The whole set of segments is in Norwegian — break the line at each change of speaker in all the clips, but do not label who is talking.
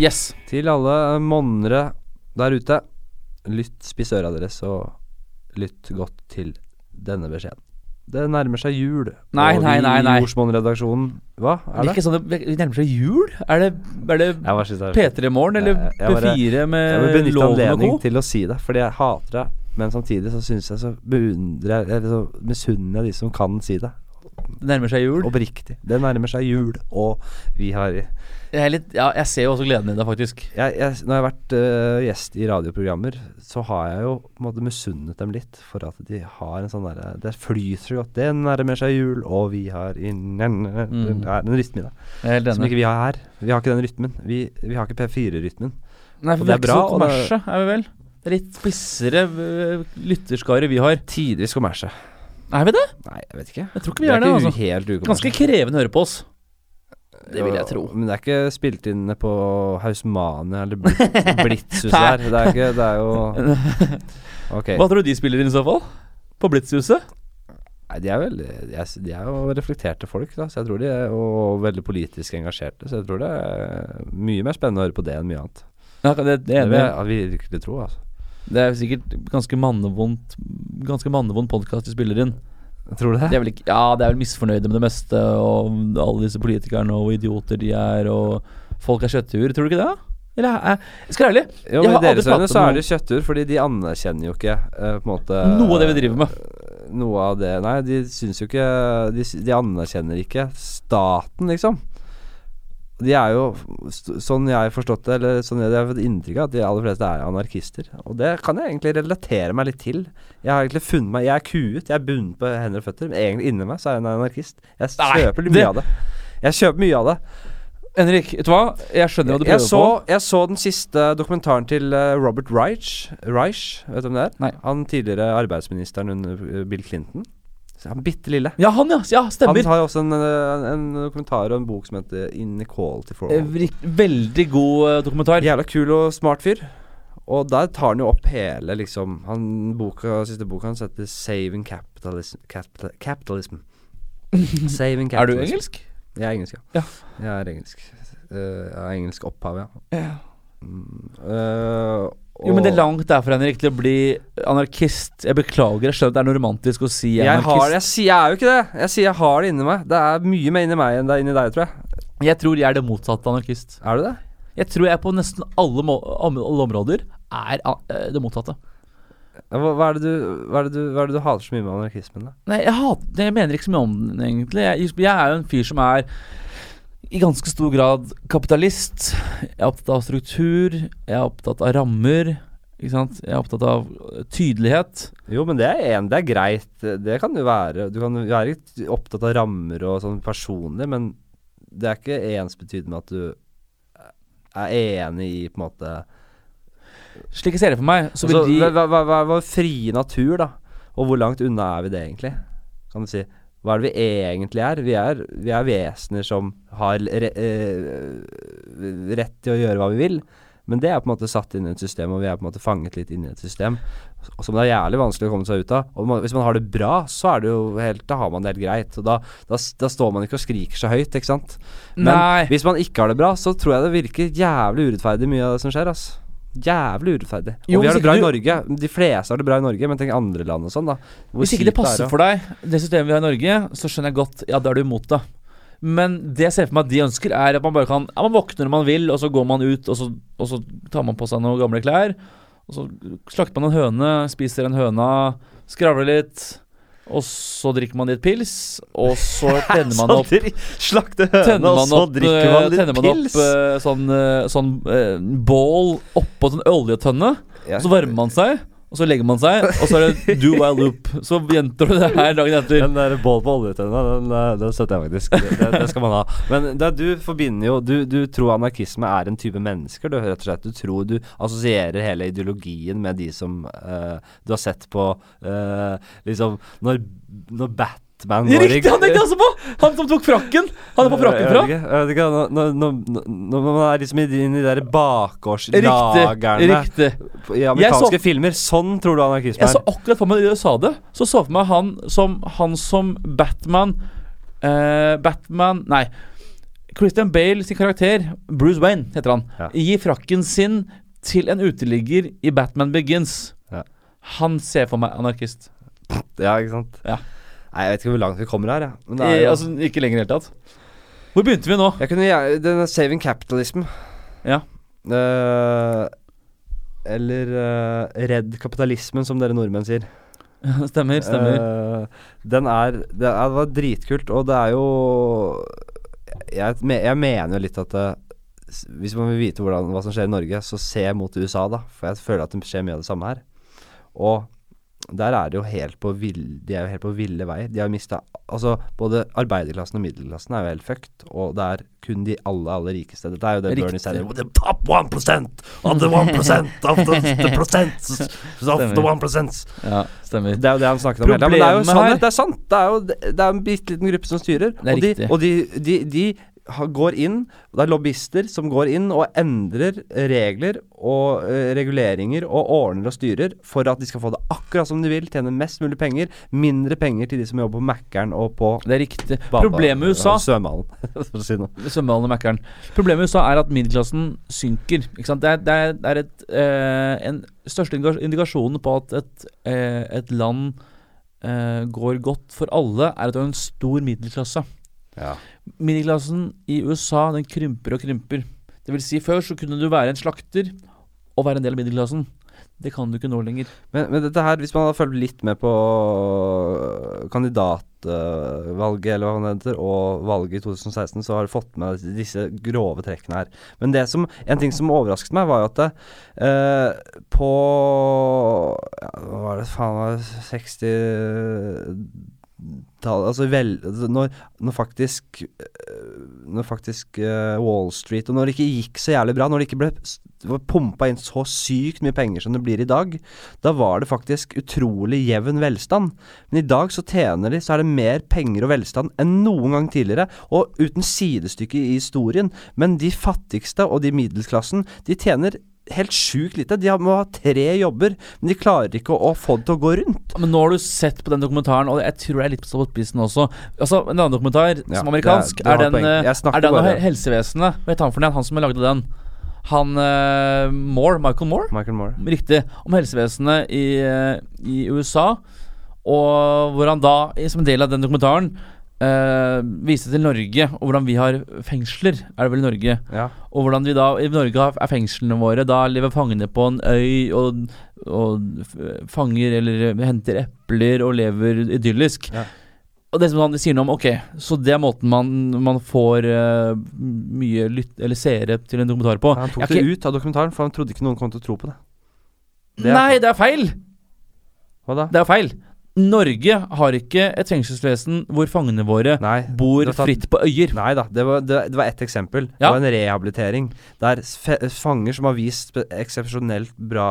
Yes.
Til alle monnere der ute, lytt spiss øra deres, og lytt godt til denne beskjeden. Det nærmer seg jul,
Nei,
og
nei,
vi
nei, nei.
i Jordsmonn-redaksjonen Hva er det?
Virker som det det nærmer seg jul? Er det, er det
Jeg var sist her.
P3 Morgen eller
Jeg- jeg bare-
P4
Jeg vil
med
benytte
Loven og
anledning
Co?
til å si det, fordi jeg hater det. Men samtidig så syns jeg så beundrer jeg Eller så misunner jeg de som kan si det.
Det nærmer seg jul.
Oppriktig. Det nærmer seg jul, og vi har
Jeg, er litt, ja, jeg ser jo også gleden i det, faktisk.
jeg, jeg, Når jeg har vært øh, gjest i radioprogrammer, så har jeg jo på en måte misunnet dem litt for at de har en sånn derre Det flyter så godt, det nærmer seg jul, og vi har innen
Mm.
Det er en rytme i det
Jeg er helt
som
enig.
ikke vi har her. Vi har ikke den rytmen. Vi, vi har ikke P4-rytmen.
Nei, for
Og
vi
det
er
er
ikke
bra,
så
og det-
kommersie, er vi vel? Det er litt spissere øh, lytterskare vi har.
Tidvis kommersie.
Er vi det?
Nei, jeg vet ikke.
Jeg tror ikke vi er det.
ikke
altså
helt ukommersielt.
Ganske krevende å høre på oss. Det vil jeg
Jo,
tro.
Men det er ikke spilt inn på Hausmania eller Blit- Blitzhuset
Nei.
her. Det er ikke Det er jo Ok.
Hva tror du de spiller inn i så fall? På Blitzhuset?
Nei, de er vel de er, de er jo reflekterte folk, da, så jeg tror de er og veldig politisk engasjerte. Så jeg tror det er mye mer spennende å høre på det enn mye annet.
Ja, det, det,
Det
er
vil
enig.
jeg virkelig tro, altså.
det er sikkert ganske mannevondt Ganske mannevond podkast de spiller inn.
Tror du
De
det?
er vel ikke, ja, de er vel misfornøyde med det meste, og alle disse politikerne og hvor idioter de er, og folk er kjøtthuer. Tror du ikke det? Eller jeg, jeg skal være ærlig. Jeg
Jo, men I
har aldri
deres øyne
pratet
så
med
er det kjøttur, fordi de anerkjenner jo ikke eh, på en måte
Noe av det vi driver med.
Noe av det Nei, de syns jo ikke De, s- de anerkjenner ikke staten, liksom. De er jo, st- sånn jeg har forstått det, eller sånn jeg jeg har fått inntrykk av, at de aller fleste er anarkister. Og det kan jeg egentlig relatere meg litt til. Jeg har egentlig funnet meg Jeg er kuet, jeg er bundet på hender og føtter, men egentlig inni meg så er jeg en anarkist. Jeg
Nei,
kjøper mye
det-
av det. Jeg kjøper mye av det.
Henrik, vet du hva? Jeg skjønner hva du
Jeg
prøver
så,
på.
jeg så den siste dokumentaren til eh, Robert Reich. Reich vet du hvem det er?
Nei.
Han tidligere arbeidsministeren under eh, Bill Clinton. Så han bitte lille.
Ja, han, ja. ja
Han
stemmer.
har jo også en, eh, en dokumentar og en bok som heter Inequality for
Eh,
All.
vrik- Veldig god eh, dokumentar.
Jævla kul og smart fyr. Og der tar han jo opp hele liksom han, boka, Siste boka hans heter 'Saving Capitalism'. Capital, capitalism. Saving capitalism.
Er du engelsk?
Jeg er engelsk,
Ja.
Jeg er engelsk. Eh, jeg er engelsk opphav, ja.
Ja.
Mm, eh,
Jo, men det er
og-
langt derfra, Henrik, til å bli anarkist. Jeg beklager, jeg skjønner at det er noe romantisk å si
Jeg, har,
anarkist.
jeg, sier, jeg er jo ikke det. Jeg sier jeg har det inni meg. Det er mye mer inni meg enn det er inni deg, tror jeg.
Jeg, tror jeg er det motsatte av anarkist.
Er du det?
Jeg tror jeg på nesten alle, må om- alle områder er eh, det motsatte.
Ja, Hva, hva, er det du, hva, er det du, hva er det du hater så mye med anarkismen, da?
Nei, jeg, hat, jeg mener ikke så mye om den, egentlig. Jeg, jeg er jo en fyr som er i ganske stor grad kapitalist. Jeg er opptatt av struktur. Jeg er opptatt av rammer. Ikke sant? Jeg er opptatt av eh, tydelighet.
Jo, men det er, en, det er greit. Det kan du være. Du kan være litt opptatt av rammer og sånn personlig, men det er ikke ensbetydende med at du er enig i på en måte
Slik jeg ser det for meg, så vil
Altså,
de
hva, hva, hva, hva er vår frie natur, da? Og hvor langt unna er vi det, egentlig? Kan du si. Hva er det vi egentlig er? Vi er, vi er vesener som har re, eh, rett til å gjøre hva vi vil. Men det er på en måte satt inn i et system, og vi er på en måte fanget litt inn i et system. og Som det er jævlig vanskelig å komme seg ut av. Og man, hvis man har det bra, så er det jo helt, da har man det helt greit. Og da, da, s- da står man ikke og skriker så høyt, ikke sant. Men
Nei.
hvis man ikke har det bra, så tror jeg det virker jævlig urettferdig mye av det som skjer, ass. Jævlig urettferdig. Og
Jo,
vi
hvis
har det
ikke
bra i
du-
Norge. De fleste har det bra i Norge, men tenk andre land og sånn, da. Hvor
Hvis ikke det
kjipt
passer
er,
for deg, det systemet vi har i Norge, så skjønner jeg godt Ja, da er du imot det. Men det jeg ser for meg at de ønsker, er at man bare kan Ja, man våkner når man vil, og så går man ut, og så, og så tar man på seg noen gamle klær. Og så slakter man en høne, spiser en høna, skravler litt. Og så drikker man litt pils, og så tenner man opp
Slakte
Tenner man opp, eh, tenner man opp eh, sånn, eh, sånn eh, bål oppå en sånn oljetønne.
Ja.
Så varmer man seg, og så legger man seg, og så er det do while loop. Så gjentar du det her dagen etter.
Den der bål på oljetenna, den, eh, den støtter jeg faktisk. Det, det, det skal man ha. Men det, du forbinder jo du, du tror anarkisme er en type mennesker, du, rett og slett. Du tror du assosierer hele ideologien med de som eh, du har sett på eh, Liksom når, når Batman går i-
Riktig! Han tenkte jeg også på! Han som tok frakken. Han er på frakken fra.
Eh, Jeg vet ikke, jeg vet ikke, når, når, når man er liksom inn i de der
Riktig.
bakgårdslagerne
riktig
i
Jeg
amerikanske filmer, sånn tror du anarkisme
Jeg så
er.
akkurat for meg da du sa det. Så så for meg han som, han som Batman eh, Batman Nei. Christian Bale sin karakter, Bruce Wayne heter han,
Ja.
gir frakken sin til en uteligger i Batman Begins.
Ja.
Han ser for meg anarkist.
Ja, ikke sant?
Ja.
Nei, jeg vet ikke hvor langt vi kommer her, jeg. Men det er
I,
jo
altså, ikke lenger i det hele tatt. Hvor begynte vi nå?
Jeg kunne gjerne Denne saving capitalism.
Ja.
Eh, eller eh, redd kapitalismen, som dere nordmenn sier.
stemmer, stemmer.
Eh, den er det, er det var dritkult, og det er jo Jeg, me- jeg mener jo litt at det, s- hvis man vil vite hvordan, hva som skjer i Norge, så se mot USA, da. For jeg føler at det skjer mye av det samme her. Og der er det jo helt på vill, de er jo helt på ville veier. De har mista Altså, både arbeiderklassen og middelklassen er jo helt fucked, og det er kun de aller, aller rikeste. Dette er jo det Bernie
Riktig.
Sanders The top 1% of the 1% of the, the percents of
Stemmer.
the 1%.
ja, stemmer.
Det er jo det han snakket om. hele tiden, Men det er jo
Problemet her-
sannhet. Det er sant. Det er jo det er en bitte liten gruppe som styrer.
Det er
og de,
riktig.
og de, de, de har- går inn og Det er lobbyister som går inn og endrer regler og eh, reguleringer og ordner og styrer for at de skal få det akkurat som de vil, tjene mest mulig penger, mindre penger til de som jobber på Mækkern og på
Det er riktig.
bada-
Problemet med USA
Svømmehallen, for å si noe.
svømmehallen og Mækkern. Problemet i USA er at middelklassen synker. Ikke sant? Det er, det er, det er et, eh, en største indika- indikasjonen på at et, eh, et land eh, går godt for alle, er at du har en stor middelklasse.
Ja.
Middelklassen i USA den krymper og krymper. Det vil si, før så kunne du være en slakter og være en del av middelklassen. Det kan du ikke nå lenger.
Men, men dette her, hvis man hadde fulgt litt med på øh, kandidatvalget, eller hva det heter, og valget i 2016, så har du fått med disse grove trekkene her. Men det som, en ting som overrasket meg, var jo at det, eh, på ja, Hva var det faen var det 60 tall, altså vel, altså når, når faktisk øh, Når faktisk øh, Wall Street Og når det ikke gikk så jævlig bra, når det ikke ble s- var pumpa inn så sykt mye penger som det blir i dag, da var det faktisk utrolig jevn velstand. Men i dag så tjener de, så er det mer penger og velstand enn noen gang tidligere, og uten sidestykke i historien. Men de fattigste og de i middelklassen, de tjener helt sjukt lite. De har- må ha tre jobber, men de klarer ikke å, å få det til å gå rundt.
Men nå har du sett på den dokumentaren, og jeg tror jeg er litt på spissen også. Altså, En annen dokumentar
Ja,
som er amerikansk,
det er-
er,
du har
den,
poeng. Jeg
eh,
snakker
er den om
bare-
he- helsevesenet. Vet han for den, han som lagde den? Han eh, Moore, Michael Moore?
Michael Moore.
Riktig. Om helsevesenet i, eh, i USA. Og hvor han da, i- som en del av den dokumentaren, eh, viste til Norge, og hvordan vi har fengsler, er det vel i Norge.
Ja.
Og hvordan vi da i Norge har- er fengslene våre Da lever fangene på en øy og, og f- fanger eller henter epler og lever idyllisk.
Ja.
Og det som han sier noe om, ok, så det er måten man, man får eh, mye lytt, eller seere til en dokumentar på.
Ja, Han tok
Jeg er
det ut av dokumentaren, for han trodde ikke noen kom til å tro på det.
ikke-
det er-
Nei, det er feil!
Hva da?
Det er feil. Norge har ikke et fengselsvesen hvor fangene våre
Nei.
bor
det er tatt-
fritt på øyer.
Nei da, det var, det, det var ett eksempel.
Ja.
Det var en rehabilitering. Der s- fe- fanger som har vist spe- eksepsjonelt bra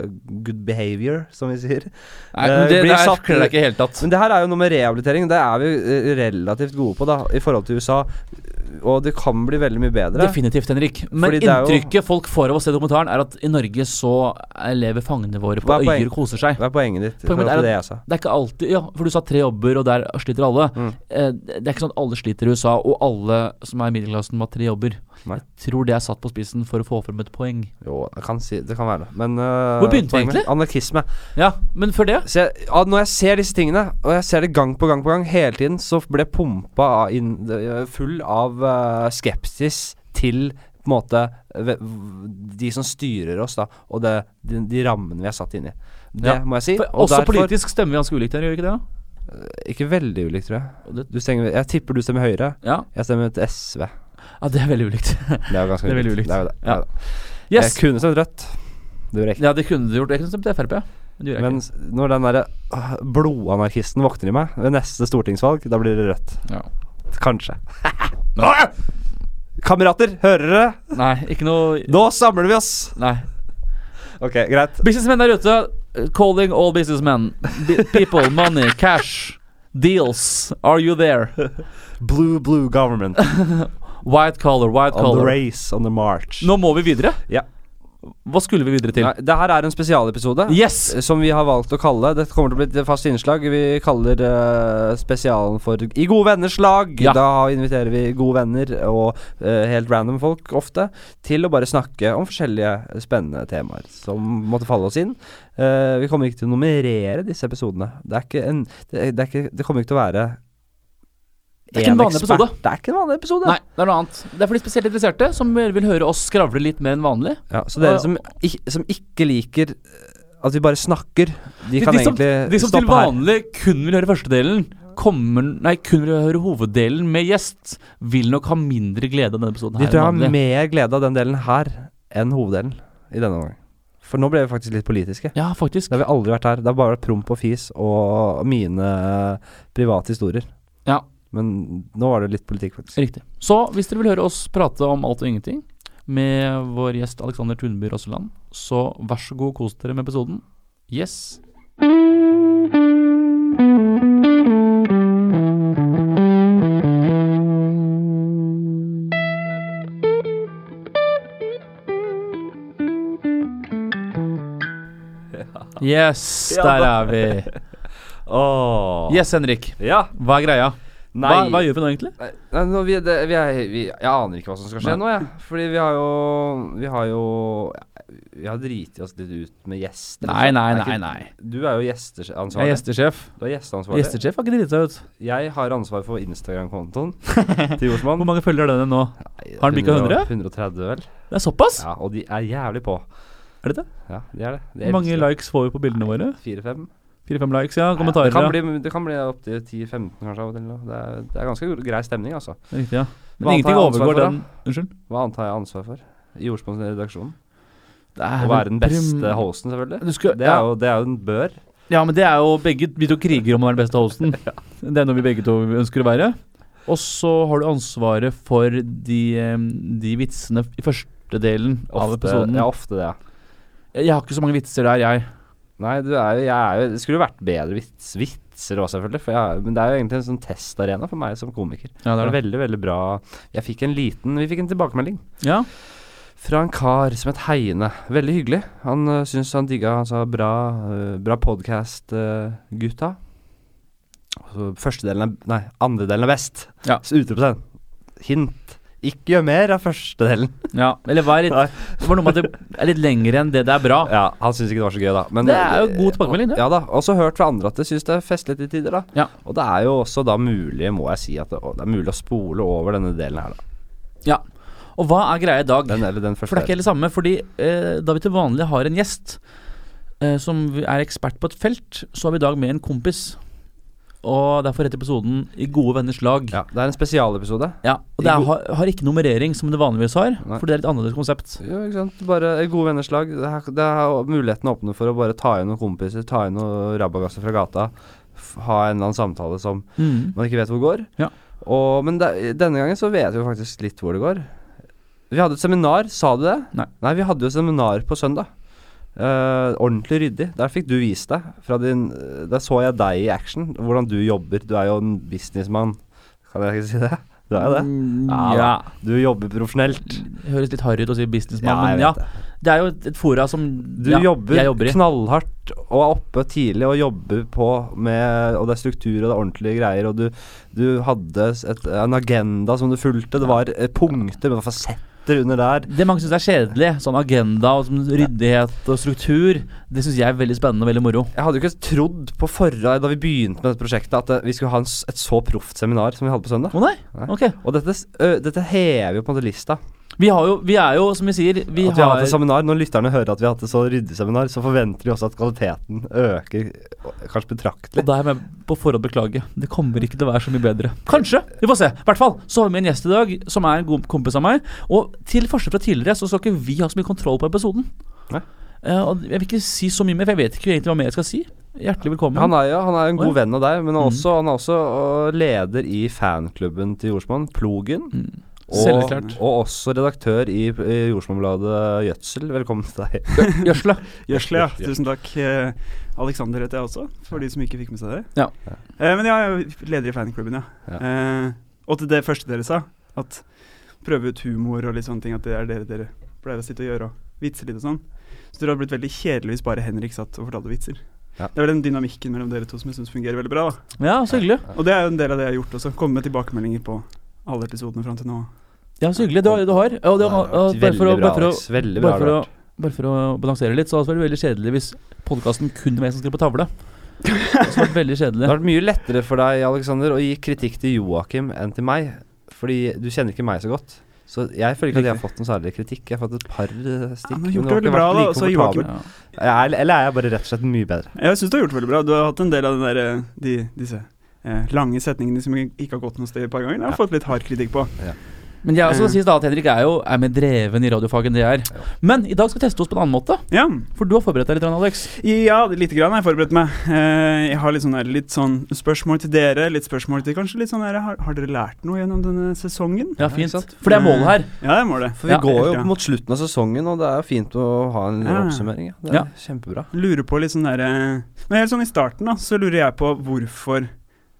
eh, good behavior, som vi sier.
Nei,
Eh,
men det,
blir
det er
satt-
kler deg ikke i det hele tatt.
Men det her er jo noe med rehabilitering. Det er vi eh, relativt gode på, da, i forhold til USA. Og det kan bli veldig mye bedre.
Definitivt, Henrik. Men
Fordi det er jo-
inntrykket folk får av å se dokumentaren, er at i Norge så eh, lever fangene våre på
Hva er
øyer
poenget?
og koser seg.
Hva er poenget ditt? i
Poenget
forhold
er
til
at-
det jeg sa.
Det er ikke alltid Ja, for du sa tre jobber, og der sliter alle.
Mm.
Eh, det er ikke sånn at alle sliter i USA, og alle som er i middelklassen, må ha tre jobber.
Nei.
Jeg tror det er satt på spissen for å få frem et poeng.
Jo, det kan, si, det kan være det. Men eh,
Hvor begynte vi
poenget-
egentlig?
Anarkisme.
Ja, men før det
Så jeg, ja, når jeg ser disse tingene, og jeg ser det gang på gang på gang hele tiden, så ble pumpa av inn, øh, full av øh, skepsis til på en måte ve- v- de som styrer oss, da, og det, de, de rammene vi er satt inn i. Det
Ja.
må jeg si.
for
Og
Også
derfor-
politisk stemmer vi ganske ulikt her, gjør vi ikke det? da?
Ikke veldig ulikt, tror jeg.
Og det-
Du stemmer, jeg tipper du stemmer Høyre.
Ja,
Jeg stemmer til SV.
ja det er veldig ulikt.
Det er jo ganske
Det er veldig ulikt.
Det er jo det.
Ja.
Det er jo det.
Yes!
Jeg kunne stemt Rødt. Det gjorde jeg ikke.
Ja, det kunne du gjort. Jeg kunne stemt Frp. Men det gjorde jeg
Men s- når den derre øh, blodanarkisten våkner i meg ved neste stortingsvalg, da blir det Rødt.
ikke. Ja.
Kanskje. Kamerater, hører dere?
Nei, ikke noe
Nå samler vi oss!
Nei.
Ok, greit.
Businessmenn der ute, calling all businessmen. Bi- People, money, cash, deals. Are you there?
Blue, blue government.
White collar, white
On the
collar.
race, on the march.
Nå må vi videre.
Ja.
Hva skulle vi videre til?
Nei, det her er en spesialepisode
Yes!
eh, som vi har valgt å kalle Det kommer til å bli et fast innslag. Vi kaller eh, spesialen for I gode venners lag.
Ja.
Da inviterer vi gode venner og eh, helt random folk ofte til å bare snakke om forskjellige spennende temaer som måtte falle oss inn. Eh, vi kommer ikke til å nummerere disse episodene. Det, er ikke en, det, det, er ikke, det kommer ikke til å være
Det er ikke en
én
vanlig
ekspert.
episode.
Det er ikke en vanlig episode.
Nei, det er noe annet. Det er for de spesielt interesserte, som vil høre oss skravle litt mer enn vanlig.
Ja, så dere som, ik som ikke liker eh, at vi bare snakker, de,
De,
kan
de som,
egentlig
de som til
stoppe her.
vanlig kun vil høre førstedelen, kommer, nei, kun vil høre hoveddelen med gjest, vil nok ha mindre glede av denne episoden.
De
her
tror jeg
enn vanlig.
har mer glede av den delen her enn hoveddelen i denne omgang. For nå ble vi faktisk litt politiske.
Ja, faktisk.
Det har vi aldri vært her. Det har bare vært promp og fis og mine private historier.
Ja.
Men nå var det litt politikk, faktisk.
Riktig. Så hvis dere vil høre oss prate om alt og ingenting med vår gjest Alexander Tunby Rosseland, så vær så god, kos dere med episoden. Yes. Yes,
Ja
der
da.
er vi.
Åh.
Yes, Henrik.
Ja.
Hva er greia?
Nei.
Hva, hva gjør vi nå, egentlig?
Nei, Nei, nå, vi, det, vi er, vi, jeg aner ikke hva som skal skje nå, jeg. Fordi vi har jo Vi har jo Vi har driti oss litt ut med gjester.
Nei, nei, nei,
Det er ikke-
nei.
Du er jo gjesteransvarlig.
Jeg er gjestesjef.
Du er gjesteansvarlig.
Gjestesjef har ikke driti seg ut.
Jeg har ansvar for Instagram-kontoen til Jordsmann.
Hvor mange følger denne nå?
Nei,
Har den bikket 100?
130, vel.
Det er såpass?
Ja, og de er jævlig på.
Er det det?
Ja, de er det. De
Hvor mange likes får vi på bildene våre?
Fire-fem?
Fire-fem likes, ja. Kommentarer.
Det kan
ja.
bli, det kan bli opptil 10-15, kanskje. av og til nå. Det er, det er ganske grei stemning, altså.
Riktig, ja. Men
Hva annet
ingenting
har jeg ansvar
overgår
for, da?
den Unnskyld?
Hva annet har jeg ansvar for? I Jordsmanns redaksjon.
Det
Å
er
være den beste
hosten.
hosten, selvfølgelig.
Du skal,
Det er jo, det er jo en bør.
ja, men det er jo begge Vi to kriger om å være den beste hosten. Det er noe vi begge to ønsker å være. Og så har du ansvaret for de, eh, de vitsene i første delen av
Ofte,
episoden.
ja, ofte det. ja.
Jeg har ikke så mange vitser der, jeg.
Nei, du er jo, jeg er jo Det skulle jo vært bedre vits, vitser òg, selvfølgelig. For jeg, er- men det er jo egentlig en sånn testarena for meg som komiker.
Ja,
Det var veldig, veldig bra. Jeg fikk en liten, Vi fikk en tilbakemelding
Ja,
fra en kar som het Heine. Veldig hyggelig. Han uh, syntes han digga Han sa bra, øh, bra podkast, gutta. Og så første delen er Nei, andre delen er best.
Ja.
Så utropstegn. Hint. Ikke gjør mer av første delen.
ja. Eller hva er
Nei.
litt, det var noe med at det er litt lengre enn det det er bra.
Ja, Han syntes ikke det var så gøy, da. Men
Det er jo god tilbakemelding, det.
Ja da. Også hørt fra andre at de syns det er festlig til tider, da.
Ja.
Og det er jo også da mulig, må jeg si, at det, det er mulig å spole over denne delen her, da.
Ja. Og hva er greia i dag?
Den, eller den
For det
første.
er ikke helt det samme, fordi eh, da vi til vanlig har en gjest eh, som er ekspert på et felt, så har vi i dag med en kompis. Og derfor heter episoden I gode venners lag.
Ja, det er en spesialepisode.
Ja, og det er, har, har ikke nummerering som det vanligvis har,
Nei.
for det er et annerledes konsept.
Jo, ikke sant. Bare gode venners lag. Det er, det er muligheten å åpne for å bare ta inn noen kompiser, ta inn noen rabagasser fra gata. f- Ha en eller annen samtale som
Mm.
man ikke vet hvor går.
Ja.
Og, men det, denne gangen så vet vi faktisk litt hvor det går. Vi hadde et seminar, sa du det?
Nei.
vi hadde jo et seminar på søndag. Eh, ordentlig ryddig. Der fikk du vist deg. Fra din, der så jeg deg i action, hvordan du jobber. Du er jo en businessmann, kan jeg ikke si det? Du er jo det.
Mm,
Ja,
ja.
Du jobber profesjonelt.
Det høres litt harry ut å si businessmann,
jeg
men
vet
ja.
det.
Det er jo et, et fora som
Du
ja,
jobber,
jeg jobber i.
knallhardt og er oppe tidlig og jobber på med Og det er struktur og det er ordentlige greier, og du, du hadde s- et, en agenda som du fulgte. Det var eh, punkter med fasetter under der.
Det mange syns er kjedelig, sånn agenda og sånn ryddighet og struktur, det syns jeg er veldig spennende og veldig moro.
Jeg hadde jo ikke trodd på forhånd da vi begynte med dette prosjektet, at eh, vi skulle ha en, s- et så proft seminar som vi hadde på søndag.
Å nei?
Nei.
Ok.
Og dette, s- ø, dette hever jo på en måte lista.
Vi, har jo, vi er jo, som vi sier, vi
at vi har
har
hatt et seminar Når lytterne hører at vi har hatt et så ryddig seminar, så forventer de også at kvaliteten øker eh, kanskje betraktelig.
Og da er jeg med på forhånd beklage. Det kommer ikke til å være så mye bedre. Kanskje! Vi får se. I hvert fall så har vi med en gjest i dag som er en god kompis av meg. Og til forskjell fra tidligere så skal ikke vi ha så mye kontroll på episoden.
Nei.
Eh, og jeg vil ikke si så mye mer, for jeg vet ikke egentlig hva mer jeg skal si. Hjertelig velkommen.
Han er jo han er en god
Oi. Mm.
venn av deg, men han er også, han er også øh, leder i fanklubben til Jordsmonn, Plogen.
Mm.
Og,
Selverklært.
og også redaktør i, i Jordsmonnbladet Gjødsel. Velkommen til deg.
Gjødsle.
Gjøsle, ja.
Ja.
Tusen takk. Eh, Alexander heter jeg også, for de som ikke fikk med seg det.
Ja.
Eh, men jeg er jo leder i fanklubben, ja.
Ja.
Eh, og til det første dere sa, at prøve ut humor og litt sånne ting, at det er det dere pleier å sitte og gjøre. og- vitser litt og sånn. Så det hadde blitt veldig kjedelig hvis bare Henrik satt og fortalte vitser.
Ja.
Det er vel den dynamikken mellom dere to som jeg syns fungerer veldig bra. Da.
Ja, så hyggelig.
Og det er jo en del av det jeg har gjort også. Komme med tilbakemeldinger på alle episodene fram til nå.
Ja, så hyggelig. Det har, du har. Og det,
har vært
og bare for å,
veldig bra,
bare for å,
Alex. Veldig bra
bare for å,
vært.
bare for å balansere litt, så hadde det vært veldig kjedelig hvis podkasten kun var jeg som skrev på tavle. Det hadde vært veldig
Det
kjedelig.
har vært mye lettere for deg, Alexander, å gi kritikk til Joakim enn til meg. Fordi du kjenner ikke meg så godt. Så jeg føler ikke at jeg har fått noen særlig kritikk. Jeg har fått et par eh, stikk.
Ja, men
men har
du har gjort det
ikke
veldig bra,
vært
da,
like
så
komfortabel.
Joakim-
Ja.
Jeg er- Eller er jeg bare rett og slett mye bedre?
Jeg syns du har gjort det veldig bra. Du har hatt en del av den der, eh, de, disse eh, lange setningene som ikke har gått noe sted et par ganger. Jeg har fått litt hard kritikk på.
Men jeg også
Mm.
sies da at Henrik er jo er mer dreven i radiofaget enn det jeg
Ja.
er. Men i dag skal vi teste oss på en annen måte,
Ja,
for du har forberedt deg litt, Alex.
ja lite grann har jeg forberedt meg. Eh, jeg har litt sånn, der, litt sånn spørsmål til dere. Litt spørsmål til kanskje litt sånn der, har, har dere lært noe gjennom denne sesongen?
Ja,
ikke
fint.
sant? Mm.
For det er målet her.
Ja, det må det.
For vi
Ja,
går
helt
jo
bra.
mot slutten av sesongen, og det er jo fint å ha en
Ja.
oppsummering. Ja. Det er
Ja.
kjempebra.
Lurer på litt sånn derre Men helt sånn i starten, da, så lurer jeg på hvorfor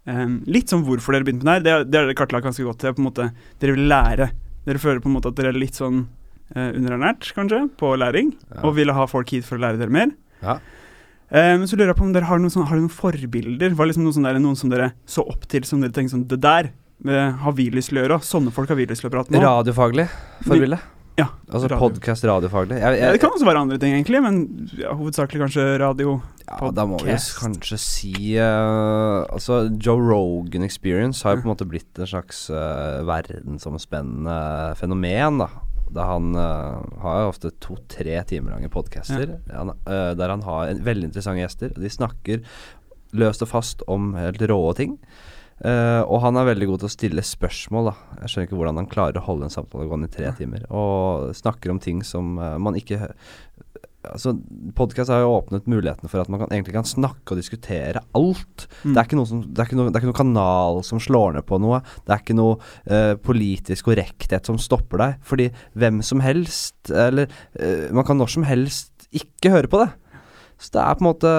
em, Litt sånn hvorfor dere begynte med det her. Det, det har dere kartlagt ganske godt. Det er på en måte Dere vil lære. Dere føler på en måte at dere er litt sånn eh, underernært, kanskje, på læring.
Ja.
Og ville ha folk hit for å lære dere mer.
Ja.
Em, så lurer jeg på om dere har noen, sånn, har dere noen forbilder? Var det liksom noen, sånn der, noen som dere så opp til, som dere tenkte sånn Det der eh, har vi lyst til å gjøre. Sånne folk har vi lyst til å prate med.
Radiofaglig forbilde.
Ja,
Altså
radio.
podkast radiofaglig. Jeg,
Ja,
jeg,
det kan også være andre ting, egentlig, men ja, hovedsakelig kanskje radio.
ja, da må vi jo s-
podcast.
kanskje si eh, Altså, Joe Rogan Experience har jo på en måte blitt en slags eh, verdensomspennende fenomen, da. Da han eh, har jo ofte to-tre timer lange podcaster han, eh, der han har en, veldig interessante gjester. og De snakker løst og fast om helt rå ting. Eh, og han er veldig god til å stille spørsmål, da. Jeg skjønner ikke hvordan han klarer å holde en samtale gående i tre timer. Og snakker om ting som eh, man ikke hø- Altså, Podkast har jo åpnet mulighetene for at man kan, egentlig kan snakke og diskutere alt. Det,
Mm.
er ikke noe som, det, er ikke noe, det er ikke noe kanal som slår ned på noe. Det er ikke noe eh, politisk korrekthet som stopper deg. Fordi hvem som helst, eller eh, man kan når som helst ikke høre på det. Så det er på en måte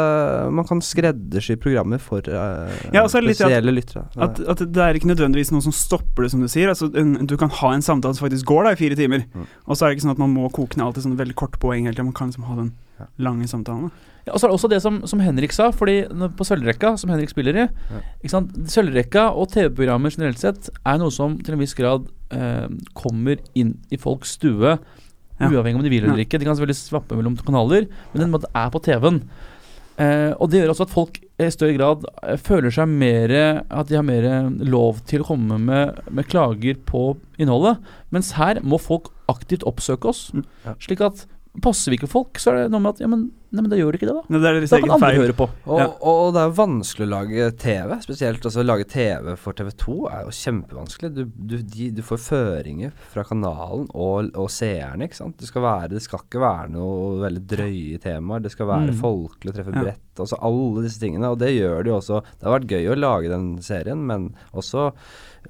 Man kan skreddersy programmer for eh,
Ja, og så er det litt det at-
spesielle lyttere.
At, at det er ikke nødvendigvis noe som stopper det, som du sier. Altså, en, du kan ha en samtale som faktisk går da i fire timer.
Mm.
Og så er det ikke sånn at man må koke ned alt i sånne veldig korte poeng hele tiden. Man kan liksom ha den
Ja.
lange samtalen. da.
Ja, og så er det også det som, som Henrik sa, fordi når- på sølvrekka, som Henrik spiller i ikke sant? Sølvrekka og TV-programmer generelt sett er noe som til en viss grad eh, kommer inn i folks stue,
Ja.
uavhengig om de vil eller ikke. De kan selvfølgelig svappe mellom kanaler, men den måten er på TV-en. Eh, og det gjør også at folk i større grad eh, føler seg mer At de har mer lov til å komme med, med klager på innholdet. Mens her må folk aktivt oppsøke oss.
Mm.
Ja.
Slik at passer vi ikke folk, så er det noe med at Ja, men, nei, men da gjør det ikke det, da.
Men Det er deres
Da kan
egen
andre
feil.
høre på.
Og,
Ja.
og det er jo vanskelig å lage TV, spesielt altså, å lage TV for TV2 er jo kjempevanskelig. Du, du, de, du får føringer fra kanalen og, og seerne, ikke sant. Det skal, være, det skal ikke være noe veldig drøye temaer. Det skal være
Mm.
folkelig og treffe
Ja.
bredt. Altså alle disse tingene. Og det gjør det jo også. Det har vært gøy å lage den serien, men også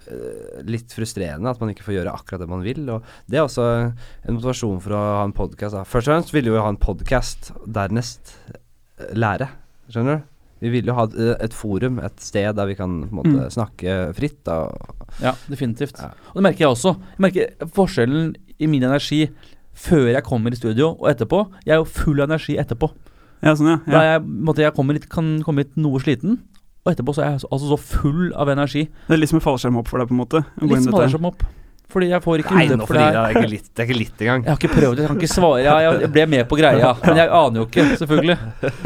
eh, litt frustrerende at man ikke får gjøre akkurat det man vil. Og det er også en motivasjon for å ha en podkast. Først og fremst ville vi jo ha en podkast, dernest eh, lære. Skjønner du? Vi vil jo ha et, et forum, et sted der vi kan på en måte,
Mm.
snakke fritt. Da.
Ja, definitivt.
Ja.
Og det merker jeg også. Jeg merker forskjellen i min energi før jeg kommer i studio og etterpå. Jeg er jo full av energi etterpå.
Ja, sånn,
Da
ja.
er jeg, på en måte, jeg kommer litt, kan komme litt noe sliten, og etterpå så er jeg så- altså så full av energi.
ja. Det er litt som en fallskjerm opp for deg, på en måte. å
Litt
gå inn i
som
dette.
holder seg opp. Fordi jeg får ikke utløp for det her.
er ikke litt, det er ikke litt engang.
Jeg har ikke prøvd, jeg kan ikke svare. Jeg, jeg ble med på greia, men jeg aner jo ikke, selvfølgelig.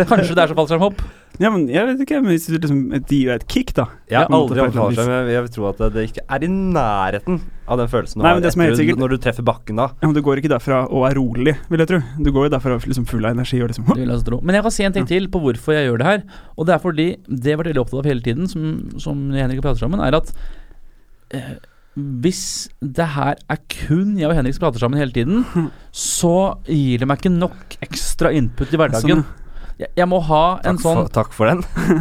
Kanskje det er som fallskjermhopp.
Ja, men jeg vet ikke, men hvis du liksom det gir deg et kick, da.
Jeg har
på en måte,
aldri
på et eller annet
forklart meg, men jeg vil tro at det ikke er i nærheten av den følelsen du
Nei,
har
men det som er helt
etter-
sikkert-
når du treffer bakken da.
Ja, men du går ikke derfra og er rolig, vil jeg tro. Du går jo derfra liksom full av energi og liksom
Det vil jeg også tro. Men jeg kan si en ting til på hvorfor jeg gjør det her. Og det er fordi det jeg har vært veldig opptatt av hele tiden, som, som Henrik og prater sammen, er at eh, hvis det her er kun jeg og Henrik som prater sammen hele tiden, så gir det meg ikke nok ekstra input i hverdagen. Jeg, jeg må ha en
Sånn.
sånn
Takk, for, takk for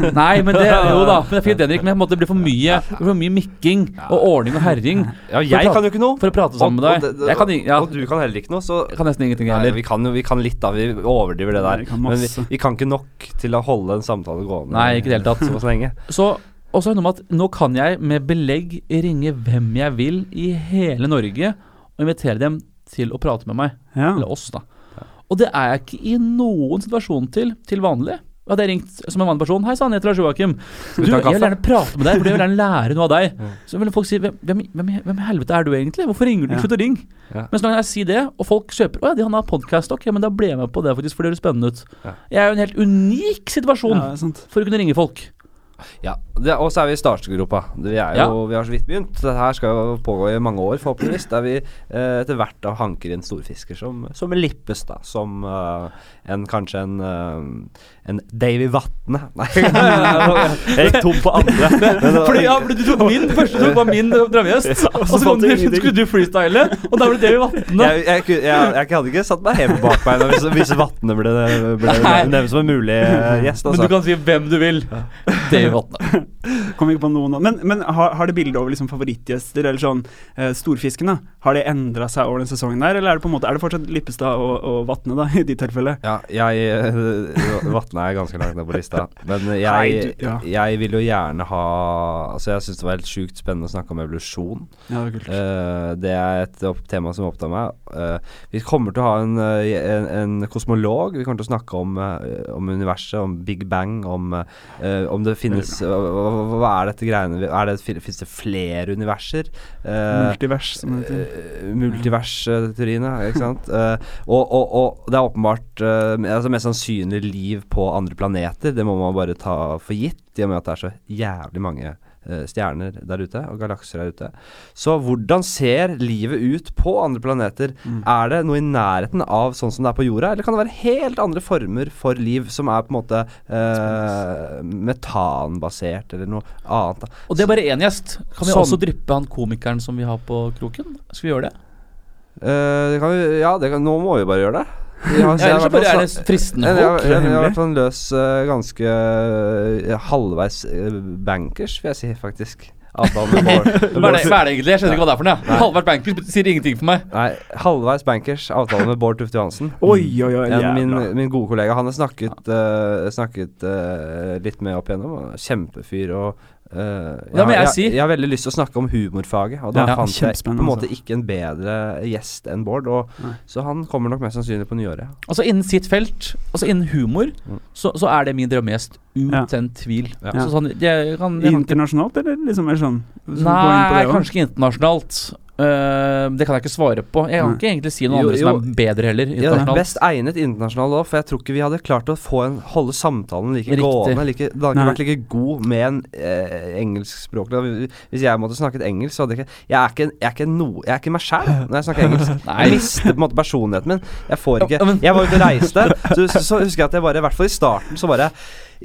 den.
Nei, men det jo da. Men det er fint, Henrik, men på en måte det blir for mye, det blir for mye mikking og ordning og herjing
Ja,
For
jeg
å prate-
kan jo ikke noe.
for å prate sammen med
Og- og det-
deg.
det-
Jeg kan, ing- ja,
Og du kan heller ikke noe, så
jeg kan nesten ingenting, jeg
Nei,
heller.
vi kan jo vi kan litt, da. Vi overdriver det
Nei,
der.
vi kan
Men vi,
masse.
vi kan ikke nok til å holde en samtale gående.
Nei, ikke i det hele tatt.
Så lenge.
Så og så er det noe med at nå kan jeg med belegg ringe hvem jeg vil i hele Norge og invitere dem til å prate med meg,
Ja.
eller oss, da. Og det er jeg ikke i noen situasjon til til vanlig. Hadde jeg ringt som en vanlig person Hei sann, jeg heter Lars Joakim. Du,
vi
jeg
ta
vil
kaffe?»
gjerne prate med deg, for jeg vil gjerne lære noe av deg.
Mm.
Så ville folk si Hvem, hvem, hvem, hvem i helvete er du egentlig? Hvorfor ringer du?
Ja.
Slutt å ringe.
Ja.
Men så kan jeg si det, og folk kjøper Å ja, de- han har podkast, ok, men da ble jeg med på det, faktisk, for det høres spennende ut.
Ja.
Jeg er jo i en helt unik situasjon
Ja, det er sant.
for å kunne ringe folk.
Ja, det, og så er vi i startgropa. Vi, er jo,
Ja.
vi har så vidt begynt. Dette her skal jo pågå i mange år, forhåpentligvis. Der vi eh, etter hvert da hanker inn storfisker som, som en Lippes, da. Som eh, en kanskje en eh, En Davy Vatne. Nei, jeg gikk tom på andre. Men,
Fordi ja, fordi Du tok min første tok var min drømmegjest, og så kom du, Altså, skulle du freestyle, og da ble det i vannet.
jeg, jeg, ku- jeg, jeg hadde ikke satt meg helt på bakbeina hvis, hvis Vatne ble, ble
Nei.
nevnt som en mulig eh, gjest.
Men du
Altså.
kan si hvem du vil. Det er i vannet.
Kom ikke på noen nå. Men, men har, har det bilde over liksom favorittgjester, eller sånn eh, storfisken, da? Har det endra seg over den sesongen der, eller er det på en måte Er det fortsatt Lippestad og, og Vatne, da, i ditt tilfelle?
Ja, jeg Vatne er ganske langt ned på lista. Men jeg,
Nei, du- ja.
jeg vil jo gjerne ha Altså, jeg syns det var helt sjukt spennende å snakke om evolusjon.
Ja, det er kult.
Eh, det er et opp- tema som opptar meg. Eh, vi kommer til å ha en, eh, en, en kosmolog. Vi kommer til å snakke om, eh, om universet, om Big Bang, om, eh, om det finnes hva, hva- hva er dette greiene Er det, Fins det flere universer? Eh,
Multivers, som det heter.
Eh, Multivers-teoriene, ikke sant. Eh, og, og, og det er åpenbart eh, altså mest sannsynlig liv på andre planeter. Det må man bare ta for gitt, i og med at det er så jævlig mange eh, stjerner der ute, og galakser der ute. Så hvordan ser livet ut på andre planeter?
Mm.
Er det noe i nærheten av sånn som det er på jorda, eller kan det være helt andre former for liv som er på en måte eh, metanbasert, eller noe annet? da?
Og det er bare én gjest. Kan vi
Sånn.
også dryppe han komikeren som vi har på kroken? Skal vi gjøre det?
Eh, det kan vi, ja, det kan, nå må vi bare gjøre det. Vi
Ja,
har-
ellers så
jeg har vært
bare er
sånn-
det fristende
Jeg, jeg,
folk.
jeg, jeg har
hemmelig.
vært sånn løs eh, ganske eh, halvveis eh, bankers, vil jeg si, faktisk. Avtalen med Bård.
Hva er det, hva er det egentlig? Jeg skjønner ikke hva det er for noe. jeg. Halvard Bankers sier ingenting for meg.
Nei, halvveis bankers. Avtalen med Bård Tufte Johansen.
Oi, oi, oi.
En, eh, min,
jævla.
min gode kollega. Han har snakket, eh, snakket eh, litt med opp igjennom. og Kjempefyr og eh,
Da må jeg
jeg,
si-
jeg har veldig lyst til å snakke om humorfaget, og da
Ja,
fant jeg på en
kjempespennende,
måte
altså.
ikke en bedre gjest enn Bård. Og,
Nei.
så han kommer nok mest sannsynlig på nyåret.
Altså Innen sitt felt, altså innen humor,
Mm.
så, så er det min drømmegjest.
Ja.
Uten tvil.
Ja.
Så sånn, jeg kan, jeg kan
Internasjonalt, eller liksom? Eller sånn? Så gå inn på
Nei,
det også.
kanskje ikke internasjonalt. Eh, det kan jeg ikke svare på. Jeg kan
Nei.
ikke egentlig si noe
Jo,
andre som er bedre heller.
Ja, det er
internasjonalt
best egnet internasjonalt òg, for jeg tror ikke vi hadde klart å få en, holde samtalen like
Riktig.
gående. Like, det hadde ikke
Nei.
vært like god med en eh, engelskspråklig Hvis jeg måtte snakket engelsk, så hadde jeg ikke Jeg er ikke, jeg er ikke, no, jeg er ikke meg sjæl når jeg snakker engelsk. Jeg
Nei.
mister på en måte personligheten min. Jeg får
Ja,
ikke
men-
Jeg var ute og reiste, så, så, så husker jeg at jeg bare, i hvert fall i starten, så bare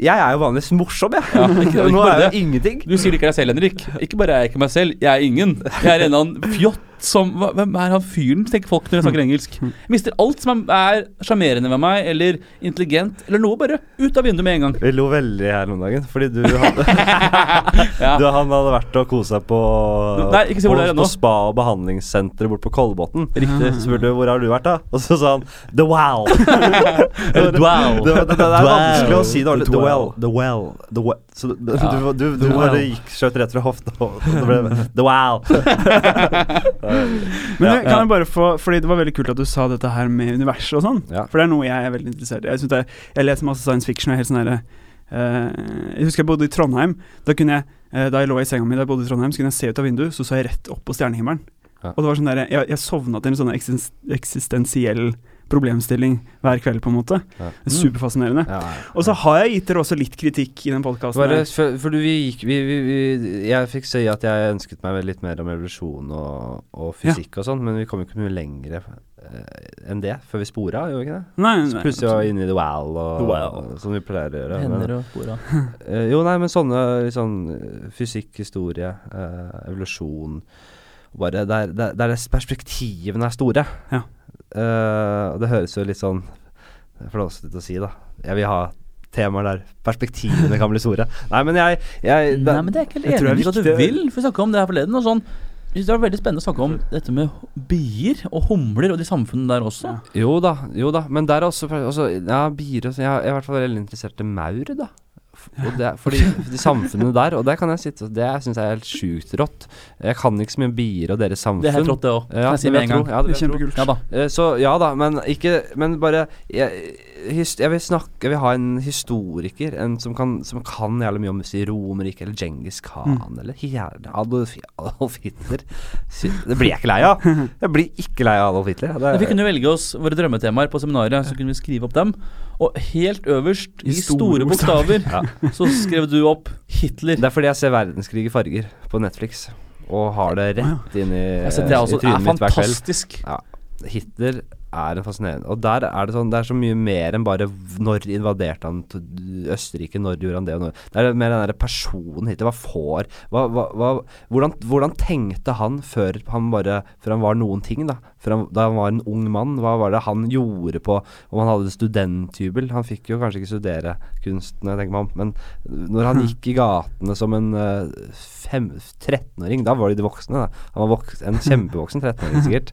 Jeg er jo vanligvis morsom, jeg.
Ja, ikke- ikke
Nå
bare
er jeg
det.
jo ingenting.
Du sier det ikke er deg selv, Henrik. Ikke bare er jeg ikke meg selv, jeg er ingen. Jeg er en eller annen fjott som hva- Hvem er han fyren, tenker folk når de snakker engelsk.
Mm.
Jeg mister alt som er sjarmerende med meg, eller intelligent, eller noe, bare ut av vinduet med en gang.
Vi lo veldig her om dagen, fordi du hadde
Ja.
Du, han hadde vært og koset seg på,
Nei, ikke si hvor
på,
det er
på
nå.
spa og behandlingssenteret borte på Kolbotn.
Riktig.
Så spurte vi hvor har du vært, da? Og så sa han The Wow.
Eller dwell.
Det, det, det, er vanskelig å si det ordentlig. The
The
Well.
Well.
The Well. The well. Så du, du,
Ja.
du, du,
The
bare
Well.
gikk skjøt rett fra hofta, og det ble The Wow.
Men
Ja.
det- kan jeg bare få Fordi det var veldig kult at du sa dette her med universet og sånn.
Ja.
For det er noe jeg er veldig interessert i. Jeg, synes det er- jeg leser masse science fiction. og er helt sånn herre, eh, Jeg husker jeg bodde i Trondheim. Da kunne jeg eh, Da jeg lå i senga mi da jeg bodde i Trondheim, så kunne jeg se ut av vinduet, så så jeg rett opp på stjernehimmelen.
Ja.
Og det var sånn der, jeg, jeg sovna til en sånn eksisten, eksistensiell problemstilling hver kveld, på en måte.
Ja.
Det er Superfascinerende.
Ja, ja.
Og så har jeg gitt dere også litt kritikk i den
Bare,
podkasten.
for, for du, vi gikk vi, vi, vi, Jeg fikk si at jeg ønsket meg vel litt mer om evolusjon og, og
Ja.
fysikk og sånn, men vi kom jo ikke mye lenger eh, enn det før vi spora, gjorde vi ikke det?
Nei,
Så
nei,
plutselig var vi inne i the wow, og,
The wow.
og- som vi pleier å gjøre. Men,
Hender og hora.
eh, jo, nei, men sånne litt sånn eh, fysikk, historie, eh, evolusjon bare der, der, der er perspektivene er store.
Ja.
Eh, og det høres jo litt sånn flåsete ut å si, da. Jeg vil ha temaer der perspektivene kan bli store. Nei, men jeg, jeg
Nei, men det er ikke
Eh,
helt
Jeg tror det er
enig i at du
viktig.
vil. For vi snakka om det her forleden. Og sånn, jeg synes det var veldig spennende å snakke
Mm.
om dette med bier og humler og de samfunnene der også.
Ja.
altså, Jo da, jo da, men der er også, også Ja, bier og sånn. Jeg er i hvert fall veldig interessert i maur, da. F- Og det, er- fordi de samfunnene der, og der kan jeg sitte og Det syns jeg er helt sjukt rått. Jeg kan ikke så mye om bier og deres samfunn.
Det er helt rått, det òg.
Ja,
kan jeg si
det
med
vil jeg
en gang.
tro. Ja, det vil
Det er
jeg tro.
kjempekult.
Ja da.
Eh, Så ja da, men ikke Men bare jeg, his, jeg vil snakke Jeg vil ha en historiker en som, kan, som kan jævlig mye om musikk. Romerriket eller Djengis Khan
Mm.
eller gjerne Adolf, Adolf Hitler. Sy- Det blir jeg ikke lei av. Jeg blir ikke lei av Adolf Hitler. Det,
Men Vi kunne velge oss våre drømmetemaer på seminaret, så kunne vi skrive opp dem. Og helt øverst, i store bokstaver, så skrev du opp Hitler.
det er fordi jeg ser verdenskrig i farger på Netflix. Og har det rett inn i,
Jeg synes det er,
i
også, det er
trynet mitt hver kveld.
fantastisk.
Hitler er en fascinerende Og der er det sånn Det er så mye mer enn bare v- Når invaderte han t- Østerrike? Når gjorde han det? Og når Det er mer den der personen Hitler. Hva får hva, hva, hva, hvordan, hvordan tenkte han før han bare Før han var noen ting, da? Før han, da han var en ung mann? Hva var det han gjorde på Om han hadde studenthybel? Han fikk jo kanskje ikke studere kunsten, jeg tenker meg om, men når han gikk i gatene som en eh, fem, 13-åring Da var de de voksne, da. Han var voks, en kjempevoksen 13-åring, sikkert.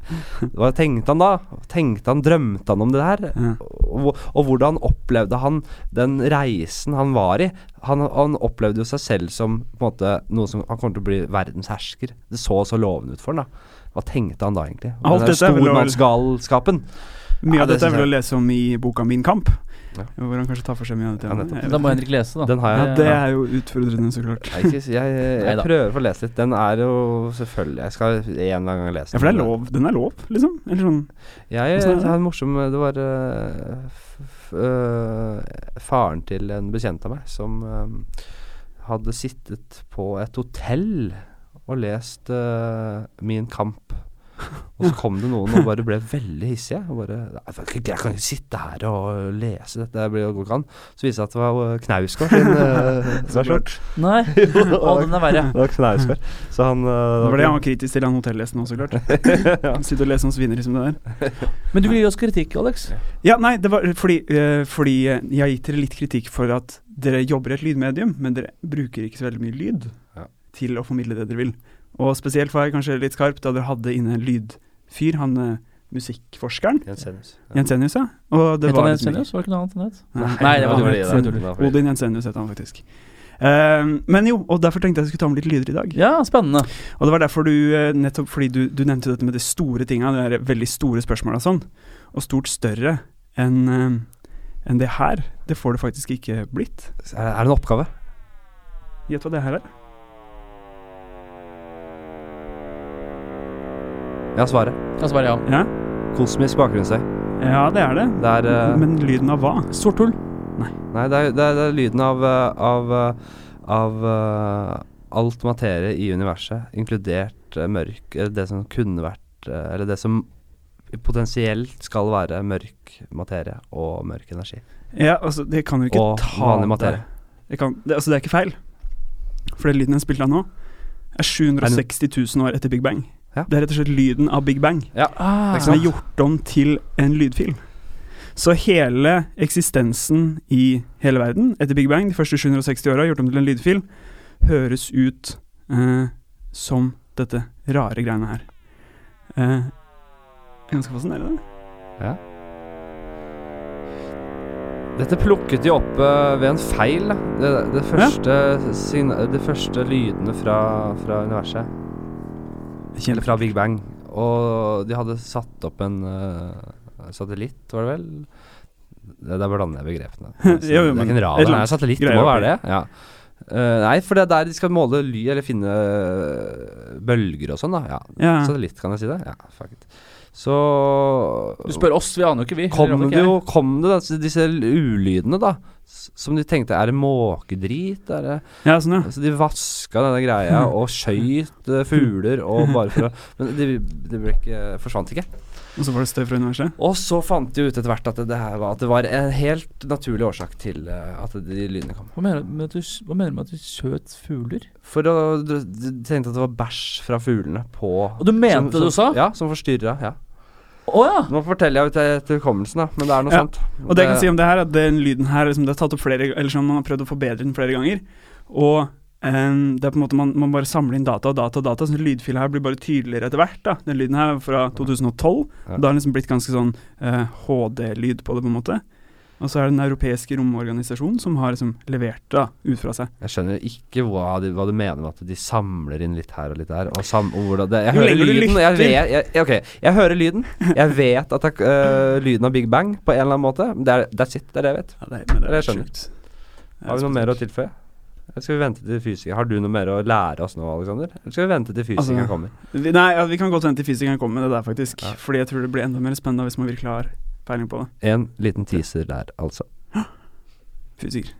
Hva tenkte han da? Tenkte han, Drømte han om det her?
Ja.
Og, og hvordan opplevde han den reisen han var i? Han, han opplevde jo seg selv som på en måte, noe som Han kommer til å bli verdens hersker. Det så så lovende ut for han da. Hva tenkte han da, egentlig? Om den
Alt
der
dette er vel over-
stormannsgalskapen.
Mye
Ja,
av
det
dette er
synes
vel å
jeg.
lese om i boka Min kamp,
Ja.
hvor han kanskje tar for seg mye av det
Ja, nettopp.
Da
temaet.
må Henrik lese, da.
Den har
Ja,
jeg.
det er jo utfordrende, så klart.
Jeg, jeg, jeg, jeg
Neida.
prøver å få lese litt. Den er jo selvfølgelig Jeg skal en eller annen gang lese
Ja, for det er lov. Den er lov, liksom? Eller sånn
Jeg
Hvordan er det?
jeg har en morsom Det var øh, f, øh, faren til en bekjent av meg som øh, hadde sittet på et hotell og lest øh, Min kamp. Og så kom det noen og bare ble veldig hissige. Og bare Nei, jeg kan ikke- jeg kan ikke sitte her og lese dette, det blir jo går ikke an. Så viste det seg at det var øh, Knausgård sin øh, versjon.
Nei, å, den er verre.
Det var Knausgård. Så han øh,
Det var det han var kritisk til, han hotellesten òg, så klart.
ja.
Sitte og lese om svineri som det der.
Men du vil gi oss kritikk, Alex.
Ja, nei, det var fordi, eh, fordi eh, jeg har gitt dere litt kritikk for at dere jobber i et lydmedium, men dere bruker ikke så veldig mye lyd
Ja.
til å formidle det dere vil. Og spesielt var jeg kanskje litt skarp da dere hadde inne en lydfyr, han eh, musikkforskeren.
Jensenius.
Jensenius, ja. Og det
Het
var
han
litt mye-
Jensenius? Var det ikke noe annet han het?
Nei,
Nei, det var
han
dårlig,
het-
det var dårlig.
dårlig.
Odin Jensenius het han faktisk. Ehm, men jo, og derfor tenkte jeg jeg skulle ta med litt lyder i dag.
Ja, spennende.
Og det var derfor du, eh, nettopp fordi du, du nevnte dette med de store tinga, de der veldig store spørsmåla og sånn, og stort større enn eh, enn det her. Det får det faktisk ikke blitt.
Er er det en oppgave?
Gjett hva det her er.
Ja, svaret.
Kan svare ja.
Ja,
Kosmisk bakgrunnsstøy.
ja det er det.
Det er eh,
Men lyden av hva?
Sort hull.
Nei, det er, det er, det er lyden av eh, Av, eh, av eh, alt materie i universet, inkludert eh, mørk Eller det som kunne vært eh, Eller det som potensielt skal være mørk materie og mørk energi.
Ja, altså, det kan jo ikke
Og
ta
vanlig materie.
Det, kan, det, altså, det er ikke feil. For den lyden jeg spilte av nå, er 760 000 år etter Big Bang.
Ja.
Det er rett og slett lyden av Big Bang.
Ah,
som er gjort om til en lydfil. Så hele eksistensen i hele verden etter Big Bang, de første 760 åra, gjort om til en lydfil, høres ut eh, som dette rare greiene her. Eh, ganske fascinerende.
Dette plukket de opp eh, ved en feil. da. Det, det, første, signa, de første lydene fra, fra universet. Eller fra Big Bang. Og de hadde satt opp en eh, satellitt, var det vel? Det- Der blander jeg begrepene.
Jo, jo,
det er
men
ikke en
et
radar, det er
langt
en satellitt. Det
greier
må
oppi.
være det. Ja. Eh, nei, for det er der de skal måle ly, eller finne eh, bølger og sånn, da. Ja.
Ja.
Satellitt, kan jeg si det? Ja, fuck it. Så
Du spør oss, vi aner jo ikke, vi.
kom
Eller
det
ikke
jo kom det da, disse ulydene, da. s- Som de tenkte Er det måkedrit? Er det
Ja, sånn, ja.
Altså, de vaska denne greia
Hmm.
og skøyt eh, fugler og bare for å Men de, de ble ikke, eh, forsvant ikke.
Og så var det støy fra universet.
Og så fant de ut etter hvert at det, her var, at det var en helt naturlig årsak til eh, at de lydene kom.
Hva mener du med at du, hva mener du med at du skjøt fugler?
For å, de de tenkte at det var bæsj fra fuglene på
Og du mente
som,
det du sa?
Ja, som forstyrra. Ja.
Å ja!
Nå forteller jeg ut etter hukommelsen, da, men det er noe
Ja,
sånt.
Og det jeg kan si om det her, er at den lyden her liksom, det er tatt opp flere Eller sånn, man har prøvd å forbedre den flere ganger. Og em, det er på en måte man, man bare samler inn data og data og data, så lydfila her blir bare tydeligere etter hvert. da Den lyden her er fra 2012.
Ja.
og Da har den liksom blitt ganske sånn eh, HD-lyd på det, på en måte. Og så er det Den europeiske romorganisasjonen som har liksom levert det da, ut fra seg.
Jeg skjønner ikke hva, de, hva du mener med at de samler inn litt her og litt der. Og sam, og hvordan det, Jeg
Jo
hører
lenger du
lyden, og jeg,
lytter.
vet, jeg, ok, jeg hører lyden. Jeg vet at det, er, øh, lyden av Big Bang på en eller annen måte. Det er, that's it. Det er det jeg vet.
Ja, det, men det
Jeg
er
skjønner.
sjukt. Det er
Har vi noe mer å
spesielt.
tilføye? Eller skal vi vente til fysikeren Har du noe mer å lære oss nå, Alexander? Eller skal vi vente til fysikeren
Altså,
kommer?
Vi, nei, ja, vi kan godt vente til fysikeren kommer med det der, faktisk.
Ja.
Fordi jeg tror det blir enda mer spennende hvis man virkelig har peiling på det.
En liten teaser der, altså.
Fysiker.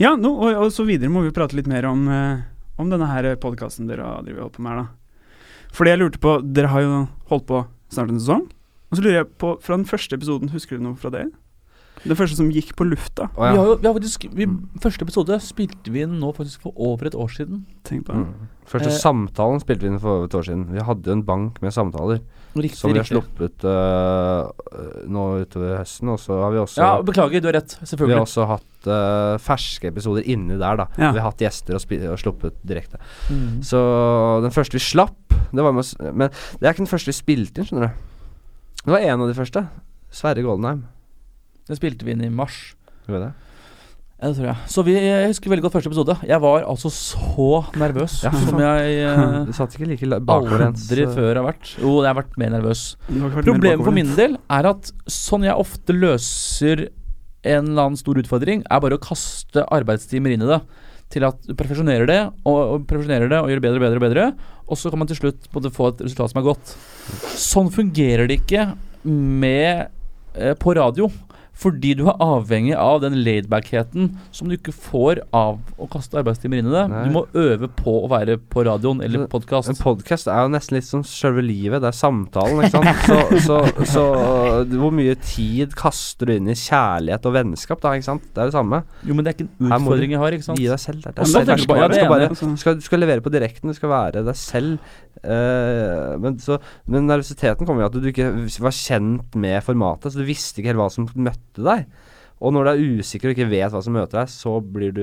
Ja, nå, og, og så videre må vi prate litt mer om, eh, om denne her podkasten dere har drivet og holdt på med her, da. Fordi jeg lurte på Dere har jo holdt på snart en sesong. Og så lurer jeg på, fra den første episoden, husker du noe fra det? Den første som gikk på lufta.
Å
Vi
ja.
har jo vi har faktisk vi,
Mm.
Første episode spilte vi inn nå faktisk for over et år siden.
Tenk på det.
Mm. Første
Eh,
samtalen spilte vi inn for over et år siden. Vi hadde jo en bank med samtaler
Riktig,
som vi har sluppet øh, nå utover høsten. Og så har vi også
Ja, beklager, du har rett.
Vi har
Selvfølgelig.
også hatt øh, ferske episoder inni der, da.
Ja.
Vi har hatt gjester og, spi- og sluppet direkte.
Mm.
Så den første vi slapp det var med, oss- Men det er ikke den første vi spilte inn, skjønner du. Det var en av de første. Sverre Goldenheim.
Den spilte vi inn i mars.
Gjorde vi det?
Ja, det tror jeg. Så vi, jeg husker veldig godt første episode. Jeg var altså så nervøs
Ja, fy
som
faen.
jeg
Du
eh,
satt ikke like la- eh, bakoverlens.
aldri
så-
før har vært. Jo, jeg har vært mer nervøs.
Mm.
Du har ikke vært mer
Problemet for
bakoverlent.
min del er at sånn jeg ofte løser en eller annen stor utfordring, er bare å kaste arbeidstimer inn i det. Til at du perfeksjonerer det, og, og perfeksjonerer det, og gjør det bedre og bedre og bedre. Og så kan man til slutt både få et resultat som er godt. Sånn fungerer det ikke med eh, på radio. Fordi du er avhengig av den laidbackheten som du ikke får av å kaste arbeidstimer inn i det.
Nei.
Du må øve på å være på radioen eller
Men- En
podkast.
podkast er jo nesten litt som selve livet. Det er samtalen, ikke sant. Så, så, så øh, hvor mye tid kaster du inn i kjærlighet og vennskap, da, ikke sant. Det er det samme.
Jo, men det er ikke en
Her må du
utfordring jeg har, ikke sant.
Gi deg selv. Det er
Ja,
deg
men da
selv. Du
tenker du bare, ja, det liksom.
skal, du skal bare
er
du skal, du skal levere på direkten, du skal være deg selv. Eh, men, så, men nervøsiteten kom jo at du ikke var kjent med formatet, så du visste ikke helt hva som møtte deg. Og når du er usikker og ikke vet hva som møter deg, så blir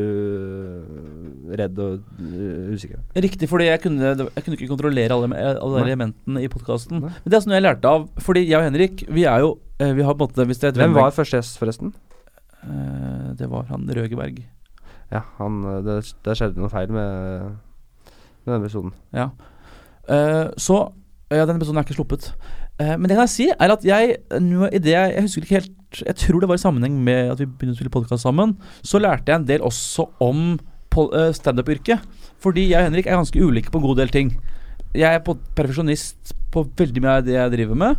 du redd og eh, usikker.
Riktig, fordi jeg kunne, det var- jeg kunne ikke kontrollere alle, alle
Nei.
elementene i podkasten.
Nei.
Men det er sånn jeg lærte av. Fordi jeg og Henrik, vi er jo eh, Vi har på en måte Hvis det er et
Hvem
vennlag-
var første gjest, forresten?
Eh, Det var han Røgeberg.
Ja, han eh, Det, det skjedde noe feil med, med denne episoden.
Ja. Eh, så Ja, den episoden er ikke sluppet. Eh, men det kan jeg si, er at jeg nå i det jeg, jeg husker ikke helt Jeg tror det var i sammenheng med at vi begynte å spille podkast sammen. Så lærte jeg en del også om pol- eh, standup-yrket. Fordi jeg og Henrik er ganske ulike på en god del ting. Jeg er på- perfeksjonist på veldig mye av det jeg driver med,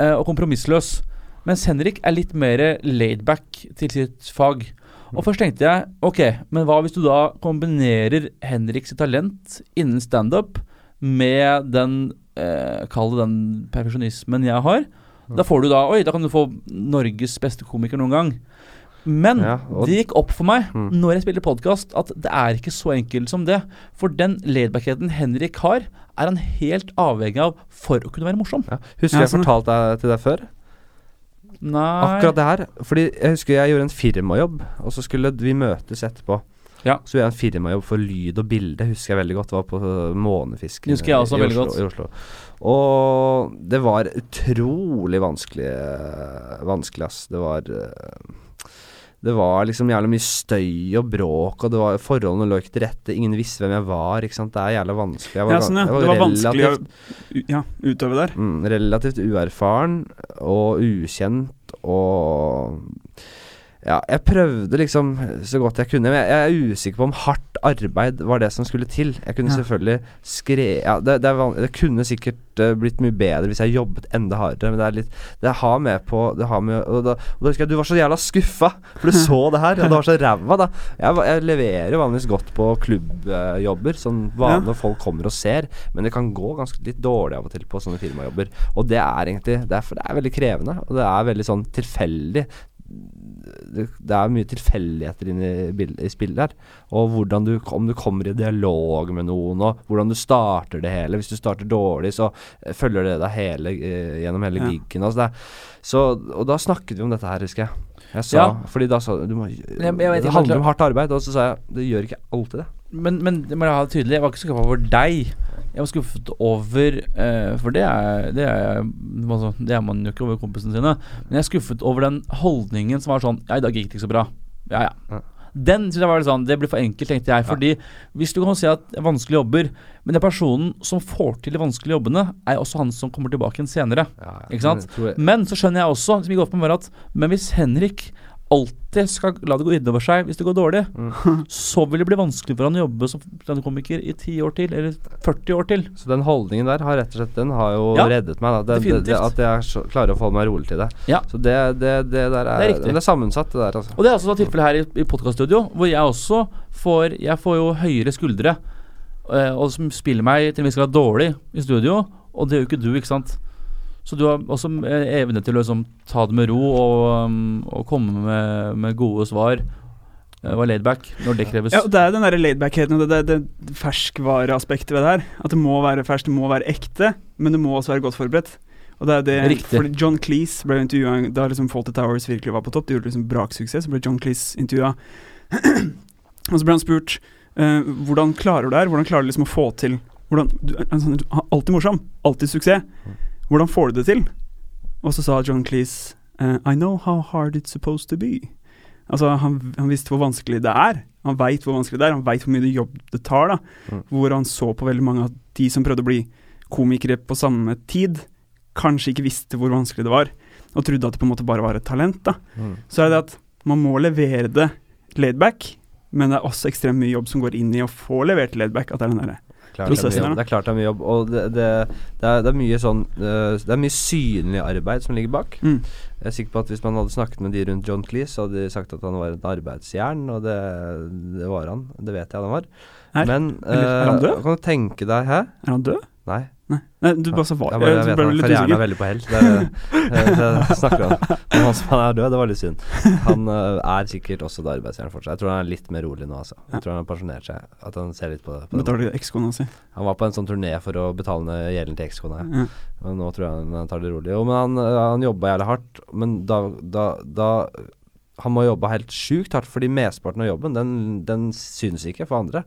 eh, og kompromissløs. Mens Henrik er litt mer laidback til sitt fag. Og først tenkte jeg ok, men hva hvis du da kombinerer Henriks talent innen standup med den eh, Kall det den perfeksjonismen jeg har. Da får du da Oi, da kan du få Norges beste komiker noen gang. Men
Ja, og-
det gikk opp for meg
Mm.
når jeg spilte podkast, at det er ikke så enkelt som det. For den laidbackheten Henrik har, er han helt avhengig av for å kunne være morsom.
Ja. Husker
Ja,
jeg
sånn, ja.
fortalte deg til deg før?
Nei
Akkurat det her. Fordi jeg husker jeg gjorde en firmajobb, og så skulle vi møtes etterpå.
Ja.
Så gjorde jeg en firmajobb for lyd og bilde, husker jeg veldig godt. Det var på øh, Månefisk
Det husker jeg også
i,
veldig
Oslo,
godt.
i Oslo. Og det var utrolig vanskelig øh, Vanskelig, ass. Det var øh, det var liksom jævlig mye støy og bråk, og det var forholdene lå ikke til rette. Ingen visste hvem jeg var, ikke sant. Det er jævla vanskelig. Jeg
Ja, sånn, ja.
jeg
Det var vanskelig å
relativt-
u- ja, utøve der.
Mm, relativt uerfaren og ukjent og Ja, jeg prøvde liksom så godt jeg kunne, men jeg, jeg er usikker på om hardt arbeid var det som skulle til. Jeg kunne
Ja.
selvfølgelig skre... Ja, det, det, er van det kunne sikkert eh, blitt mye bedre hvis jeg jobbet enda hardere, men det er litt Det har med på det har med, og, da, og da husker jeg du var så jævla skuffa, for du så det her, og du var så ræva, da. Jeg, var- jeg leverer jo vanligvis godt på klubbjobber, sånn
Ja.
vanlig når folk kommer og ser, men det kan gå ganske litt dårlig av og til på sånne firmajobber. Og det er egentlig derfor det er veldig krevende, og det er veldig sånn tilfeldig. Det, det er mye tilfeldigheter inne i, bil- i spillet her. Og hvordan du, om du kommer i dialog med noen, og hvordan du starter det hele. Hvis du starter dårlig, så eh, følger det deg hele, eh, gjennom hele
Ja.
giggen. Altså det er, så, og da snakket vi om dette her, husker jeg. Jeg sa,
Ja.
Fordi da sa du, du må,
jeg vet ikke
Det handler om hardt arbeid. Og så sa jeg det gjør ikke alltid det.
Men, men det må jeg ha tydelig, jeg var ikke så skuffa over deg. Jeg var skuffet over eh, For det er, det, er, altså, det er man jo ikke over kompisene sine. Men jeg er skuffet over den holdningen som var sånn Ja, i dag gikk det ikke så bra. Ja,
Ja.
ja. Den synes jeg var litt sånn Det blir for enkelt, tenkte jeg. Fordi hvis du kan si at det er vanskelige jobber Men den personen som får til de vanskelige jobbene, er også han som kommer tilbake igjen senere.
Ja, ja.
Ikke sant?
Men jeg tror-
Men så skjønner jeg også, som vi går på med at Men hvis Henrik alltid skal la det gå innover seg hvis det går dårlig, så vil det bli vanskelig for han å jobbe som standup-komiker i 10 år til, eller 40 år til.
Så den holdningen der har rett og slett Den har jo
Ja,
reddet meg. Da. Det, det, det,
definitivt.
at jeg så, klarer å forholde meg rolig til det.
Ja.
Så det, det, det der er,
Det er riktig.
men det er sammensatt, det der, altså.
Og det er også tilfellet her i, i podcaststudio, hvor jeg også får Jeg får jo høyere skuldre, eh, og som spiller meg til en viss grad dårlig i studio, og det gjør jo ikke du, ikke sant? Så du har også eh, evne til å liksom ta det med ro og, um, og komme med, med gode svar. eh, Være laidback når det kreves.
Ja, og Det er den der laidbackheten og det, det, det ferskvareaspektet ved det her. At det må være ferskt, det må være ekte, men det må også være godt forberedt. Og det er det,
Riktig.
fordi John Cleese ble intervjua da liksom Fawlty Towers virkelig var på topp. De gjorde liksom braksuksess, så ble John Cleese intervjua. og så ble han spurt eh, hvordan klarer du det her? Hvordan klarer du liksom å få til hvordan, du, er sånn, du er Alltid morsom, alltid suksess. Hvordan får du det til? Og så sa John Cleese eh, I know how hard it's supposed to be. Altså, han, han visste hvor vanskelig det er. Han veit hvor vanskelig det er, han veit hvor mye jobb det tar. da
Mm.
Hvor han så på veldig mange av de som prøvde å bli komikere på samme tid, kanskje ikke visste hvor vanskelig det var, og trodde at det på en måte bare var et talent. da
Mm.
Så er det at man må levere det laidback, men det er også ekstremt mye jobb som går inn i å få levert laidback. At det er den derre
Klart det, er mye
Prosessen her,
jobb.
da.
det er klart det er mye jobb. Og det, det, det, er, det er mye sånn eh, Det er mye synlig arbeid som ligger bak.
mm.
Jeg er sikker på at hvis man hadde snakket med de rundt John Cleese, så hadde de sagt at han var et arbeidsjern, og det, det var han. Det vet jeg han var.
Er-
Men
eller er
eh,
han død?
kan du tenke deg Hæ?
Er han død?
Nei.
Nei, Nei du bare sa var.
Jeg, bare, jeg
så
vet
ble
at
litt
karrieren er
usikker.
veldig på hell. Det, det, det snakker han om. Men han som han er død, det var litt synd. Han eh, er sikkert også et arbeidsjern fortsatt. Jeg tror han er litt mer rolig nå, altså.
Ja.
Jeg tror han har pensjonert seg. At han ser litt på det. På den.
Betaler ekskona si.
Han var på en sånn turné for å betale ned gjelden til ekskona. ja.
altså. Ja.
Men nå tror jeg han- han tar det rolig. Jo, men han, eh, han jobba jævlig hardt. Men da, da, da Han må jobbe helt sjukt hardt, fordi mesteparten av jobben, den, den synes ikke for andre.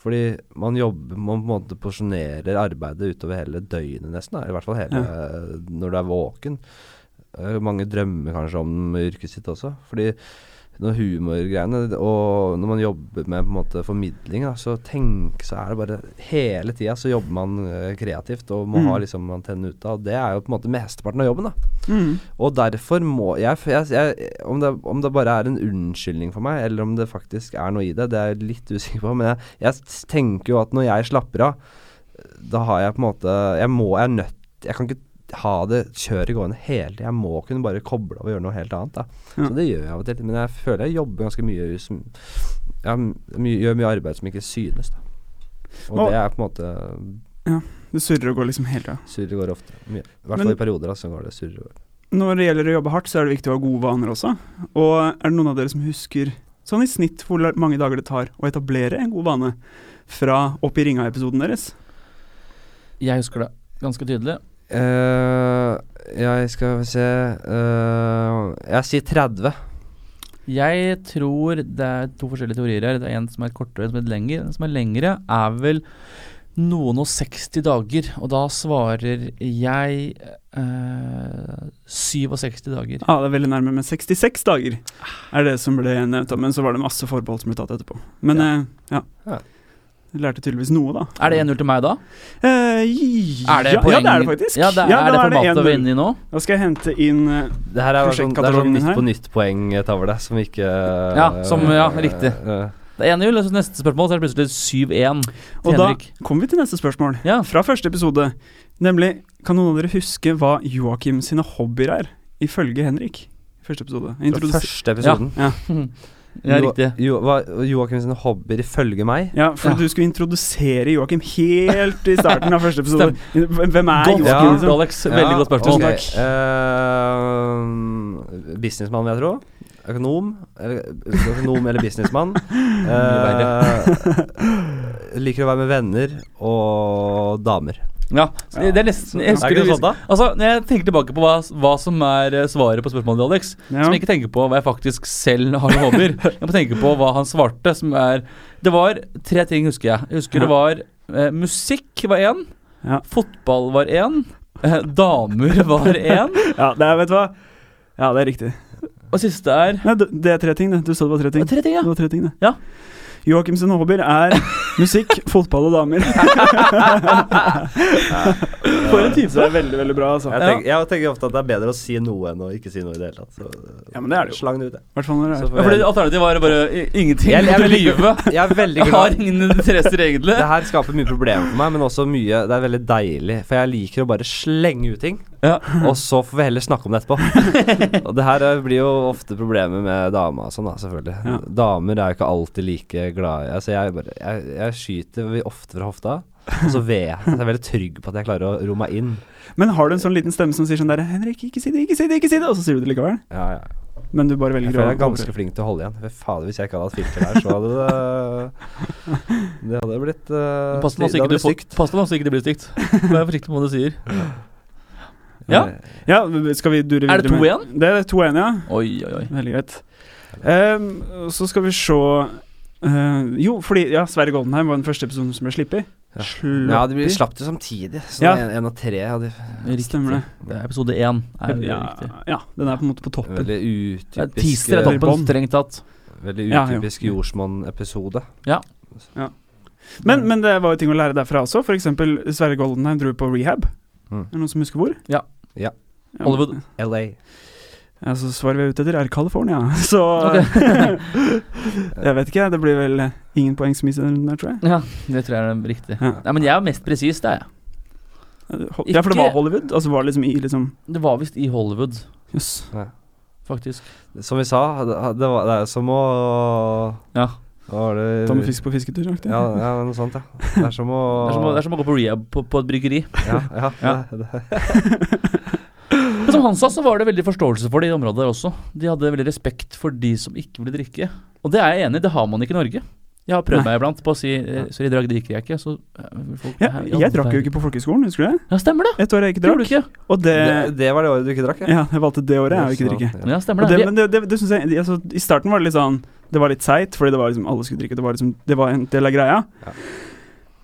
Fordi man jobber Man på en måte porsjonerer arbeidet utover hele døgnet, nesten. da. I hvert fall hele eh, når du er våken. Eh, Mange drømmer kanskje om yrket sitt også. Fordi når humorgreiene Og når man jobber med på en måte formidling, da, så tenk så er det bare Hele tida så jobber man eh, kreativt og må
Mm.
ha liksom antennene ute. Og det er jo på en måte mesteparten av jobben, da.
Mm.
Og derfor må jeg, jeg, jeg om, det, om det bare er en unnskyldning for meg, eller om det faktisk er noe i det, det er jeg litt usikker på. Men jeg, jeg tenker jo at når jeg slapper av, da har jeg på en måte Jeg må, jeg er nødt Jeg kan ikke ha det kjøret gående hele tiden. Jeg må kunne bare koble av og gjøre noe helt annet. Da.
Ja.
Så det gjør jeg av og til. Men jeg føler jeg jobber ganske mye i som, Jeg m- my, gjør mye arbeid som ikke synes, da. Og
Hva-
det er på en måte
Det surrer og går liksom hele tida.
Surrer går ofte. Mye. I hvert
Men-
fall i perioder, altså. Går det surrer og går.
Når det gjelder å jobbe hardt, så er det viktig å ha gode vaner også. Og er det noen av dere som husker sånn i snitt hvor la- mange dager det tar å etablere en god vane fra Opp i ringa-episoden deres?
Jeg husker det ganske tydelig.
Eh, jeg skal se eh, Jeg sier 30.
Jeg tror det er to forskjellige teorier her. Det er En som er kortere, en som er litt lengre. Den som er lengre, er vel noen og 60 dager. Og da svarer jeg eh, 67 dager.
Ja, det er veldig nærme, men 66 dager er det som ble nevnt. da, Men så var det masse forbehold som ble tatt etterpå. Men eh, ja.
Ja.
Jeg lærte tydeligvis noe, da.
Er det 1-0 til meg da?
Eh, i-
Er det
ja, ja, det er det faktisk.
Ja, det er,
da
det formatet vi er
1-0.
inne i nå?
Da skal jeg hente inn eh,
Det her er jo sånn, det er sånn
Prosjektkatalogen
Nytt
her.
på nytt-poeng-tavle som ikke
Ja, som- ja, riktig.
eh,
Det er 1-0, og så neste spørsmål så er det plutselig 7-1
Og
til
da
Henrik.
kommer vi til neste spørsmål.
Ja.
Fra første episode, nemlig Kan noen av dere huske hva Joakim sine hobbyer er, ifølge Henrik? Første episode. Jeg
Fra
introduser-
første episoden.
Ja,
Jo-
riktig.
Jo, hva- Joakim sine hobbyer ifølge meg?
Ja, for
Ja.
du skulle introdusere Joakim helt i starten av første episode. Hvem er
Godt
Joakim?
spurt,
Liksom?
Alex. Veldig
Ja,
godt spørsmål.
ok, eh, businessmann, vil jeg tro. Økonom. Eller, økonom eller businessmann. Eh, liker å være med venner og damer.
Ja, så det det er nesten jeg
Er
husker
ikke det
det-
sånn, da?
Altså, Når jeg tenker tilbake på hva, hva som er eh, svaret på spørsmålet til Alex,
Ja.
som jeg ikke tenker på hva jeg faktisk selv har som hobbyer, jeg må tenke på hva han svarte, som er Det var tre ting, husker jeg. Jeg husker det var Eh, musikk var én.
Ja.
Fotball var én. Eh, damer var én.
Ja, det er, vet du hva? Ja, det er riktig.
Og siste er
Nei, det det er tre ting, det. Du sa det var tre ting.
Tre ting, ja.
Det var tre ting, det.
Ja.
Joachimsen Håber er musikk, fotball og damer. For en type. Det er veldig, veldig bra, altså.
Ja.
Jeg tenker, jeg tenker ofte at det er bedre å si noe enn å ikke si noe i det hele tatt. Så,
Ja, men det er det jo.
Slang det ut, jeg.
I hvert fall når det
Så
er
får
Ja, fordi
jeg-
Alternativet var bare i- ingenting.
Jeg- jeg
Jeg,
vil ikke-
lyve.
Jeg er veldig
Jeg har
glad
ingen interesser, egentlig.
Det her skaper mye problemer for meg, men også mye Det er veldig deilig, for jeg liker å bare slenge ut ting,
Ja.
og så får vi heller snakke om det etterpå. Og det her eh, blir jo ofte problemer med dama og sånn, da, selvfølgelig.
Ja.
Damer er jo ikke alltid like glad i Altså, jeg, bare, jeg, jeg skyter vi- ofte fra hofta, og så vet jeg at jeg er veldig trygg på at jeg klarer å ro meg inn.
Men har du en sånn liten stemme som sier sånn der 'Henrik, ikke si det, ikke si det', ikke si det, og så sier du det likevel?
Ja, ja.
Men du bare
Jeg
velger
føler
å
jeg er ganske flink til å holde igjen. Fy fader, hvis jeg ikke hadde hatt filter der, så hadde det Det hadde blitt eh,
Pass deg nå
det
så ikke
hadde
du
blitt
får- pass deg nå så ikke det blir stygt. Vær forsiktig med hva du sier. Ja.
Ja, skal vi dure
Er
videre
det
med-
2-1?
Det er 2-1, ja.
Oi, oi, oi.
Veldig greit. Ehm, og så skal vi se eh, Jo, fordi ja, Sverre Goldenheim var den første episoden som ble sluppet.
Ja.
Sluppi?
Ja, de blir- slapp det samtidig. Så
Ja.
en, en av tre hadde
Riktig.
Stemmer det.
Det er episode én. Er det
ja,
riktig.
ja, den er på en måte på toppen.
Veldig
Det er
utypisk
teaser er
eh,
toppen, strengt tatt.
Veldig
Ja, jo.
utypisk jordsmonn-episode.
Men, men det var jo ting å lære derfra også. For eksempel Sverre Goldenheim dro på rehab.
Mm.
Er det noen som husker hvor?
Ja.
Ja.
Ja,
Hollywood.
LA.
Ja, så svaret vi er ute etter, er California. Så Jeg vet ikke, det blir vel ingen poeng som gis i den runden her, tror jeg.
Ja, det tror jeg er riktig.
Ja.
Nei, men jeg er mest presis, det er jeg.
Ja, for det var
Ikke-
Hollywood, og så var det liksom i liksom
Det var visst i Hollywood,
Jøss.
faktisk.
Som vi sa, det, det, var, det er som å
Ja.
Hva var det
Ta med fisk på fisketur, aktig.
Ja, ja, noe sånt, ja. Det er som å
Det er som, å- det er som å gå på rehab på, på et bryggeri.
Ja, ja,
Ja.
Det, det.
Men som han sa, så var det veldig forståelse for det i området der også. De hadde veldig respekt for de som ikke ville drikke. Og det er jeg enig i, det har man ikke i Norge. Jeg har prøvd
Nei.
meg iblant på å si eh, 'sorry, i dag drikker jeg ikke', så eh, vil folk,
Ja, jeg drakk jo ikke på folkehøyskolen, husker du det?
Ja, stemmer det!
Et år jeg ikke
Tror du
drakk.
ikke?
Og det
Det, det var det året du ikke drakk,
Ja, jeg valgte det året, jeg har jo ikke
Så-
drikke.
Ja.
Ja, stemmer
Og
det.
det,
Vi-
men det, det, det synes jeg altså, I starten var det litt sånn Det var litt seigt, fordi det var liksom alle skulle drikke. Det var liksom Det var en del av greia.
Ja.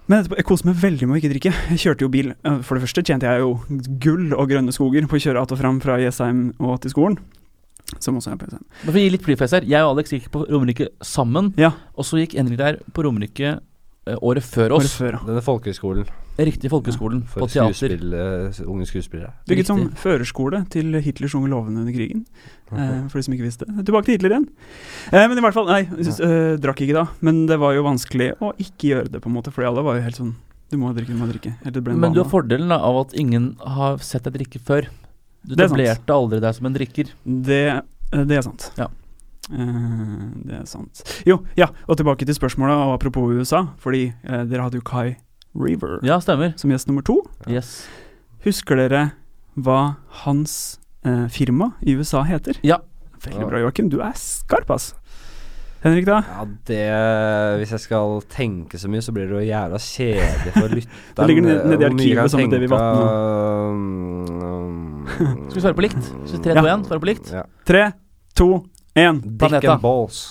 Men etterpå, jeg koste meg veldig med å ikke drikke. Jeg kjørte jo bil. Eh, For det første tjente jeg jo gull og grønne skoger på å kjøre att og fram fra Jessheim og til skolen. Som også er på Jessheim.
Men for å gi litt flyfest her. Jeg og Alex gikk på Romerike sammen.
Ja.
Og så gikk Henrik der på Romerike eh, året før
Året
oss.
før, ja.
Denne folkehøyskolen
Riktig folkeskolen.
for
på teater.
skuespill, eh, unge skuespillere.
Bygget som
Riktig.
førerskole til Hitlers unge lovende under krigen. Eh, for de som ikke visste. Tilbake til Hitler igjen. Eh, men i hvert fall, nei, jeg synes, eh, drakk ikke da. Men det var jo vanskelig å ikke gjøre det, på en måte, fordi alle var jo helt sånn Du må drikke, du må drikke. Helt til det ble en
Men du har
vane.
fordelen da, av at ingen har sett deg drikke før. Du
Det er sant.
etablerte aldri deg som en drikker.
Det, eh, det er sant.
Ja.
Eh, det er sant. Jo, ja, og tilbake til spørsmålet, og apropos USA, fordi eh, dere hadde jo Kai Reaver
Ja, stemmer.
som gjest nummer to.
Yes.
Husker dere hva hans eh, firma i USA heter?
Ja.
Veldig bra, Joakim. Du er skarp, ass. Henrik, da?
Ja, det Hvis jeg skal tenke så mye, så blir det jo jævla kjedelig for lytteren.
Det ligger ned-
eh,
nede i
hvor mye jeg
arkivet
kan
sammen med
tenke,
Davy
um, um,
Skal vi svare på likt? Så tre,
Ja.
to, en, svare på likt?
Ja.
Tre, to, én.
Dick
Planeta.
and balls.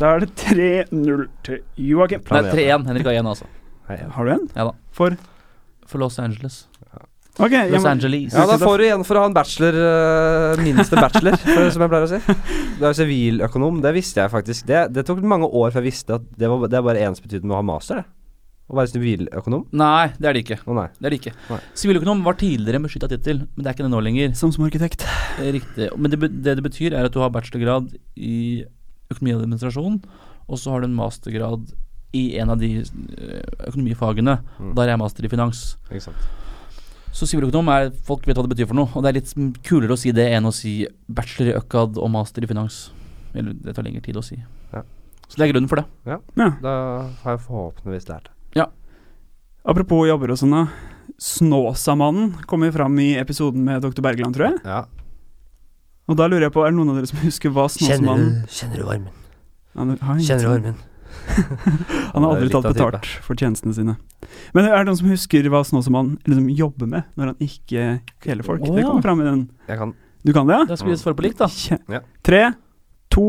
Da er det 3-0 til Joakim.
Nei,
Planeten.
3-1. Henrik har 1, altså.
Hei, ja.
Har du en?
Ja da.
For
For Los Angeles.
Ok, jeg
Los
må-
Angeles.
ja, da får du igjen for å ha en bachelor, eh, minste bachelor, for- som jeg pleier å si. Du er jo siviløkonom, det visste jeg faktisk. Det, det tok mange år før jeg visste at det, var, det er bare eneste betydning med å ha master, det. Å være siviløkonom.
Nei, det er det ikke.
Å nei.
Det er det ikke.
Nei.
Siviløkonom var tidligere en beskytta tittel, men det er ikke det nå lenger.
Som som arkitekt.
Riktig. Men det, be- det det betyr, er at du har bachelorgrad i økonomi og administrasjon, og så har du en mastergrad i en av de eh, økonomifagene.
Mm.
Da er jeg master i finans.
Ikke sant.
Så siviløkonom er Folk vet hva det betyr for noe, og det er litt m- kulere å si det enn å si bachelor i økad og master i finans. Eller det tar lengre tid å si.
Ja.
Så det er grunnen for det.
Ja.
Da har jeg forhåpentligvis lært det.
Apropos jobber og sånn, da. Snåsamannen kom jo fram i episoden med Dr. Bergland, tror jeg.
Ja.
Og da lurer jeg på, er det noen av dere som husker hva Snåsamannen
kjenner du varmen?
Han, han,
varmen?
han har aldri tatt betalt for tjenestene sine. Men er det noen som husker hva Snåsamannen liksom jobber med når han ikke kveler folk?
Å,
det
ja.
kommer fram i den.
Jeg kan
Du kan det, ja?
Da skal vi svare på likt, da.
Kje-
Ja.
Tre, to,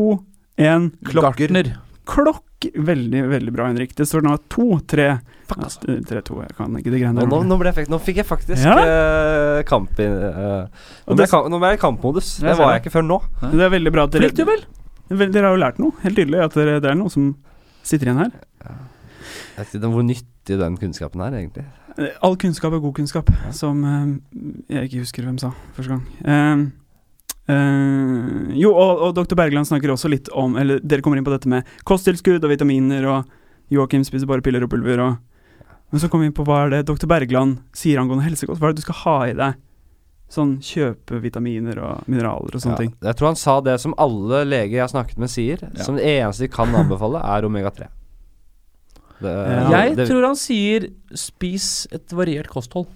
én
Klokker.
Gartner.
Klokker! takk. Veldig, veldig bra, Henrik. Det står nå to, tre
Fuck,
ja,
altså.
tre, to, jeg kan ikke de greiene
Nå, nå,
der.
nå, ble jeg, fakt- nå fikk jeg faktisk
Ja.
eh, kamp i eh, nå, ble
Og det,
jeg, kam- nå ble jeg i kampmodus.
Jeg
Det
ser
var jeg
det.
ikke før nå.
det er veldig bra at dere
Flink du vel?
Vel, Dere har jo lært noe, helt tydelig. At dere, det er noe som sitter igjen her.
Jeg vet ikke hvor nyttig den kunnskapen er, egentlig.
Eh, All kunnskap er god kunnskap, som eh, jeg ikke husker hvem sa første gang. Eh, eh, jo, og, og dr. Bergland snakker også litt om Eller dere kommer inn på dette med kosttilskudd og vitaminer, og Joakim spiser bare piller og pulver, og Men så kommer vi inn på hva er det dr. Bergland sier angående helsekost. Hva er det du skal ha i deg? Sånn kjøpe vitaminer og mineraler og sånne ting.
Ja, jeg tror han sa det som alle leger jeg har snakket med, sier.
Ja.
Som det eneste de kan anbefale, er omega-3. Det,
Ja,
Jeg
det-
tror han sier 'spis et variert kosthold'.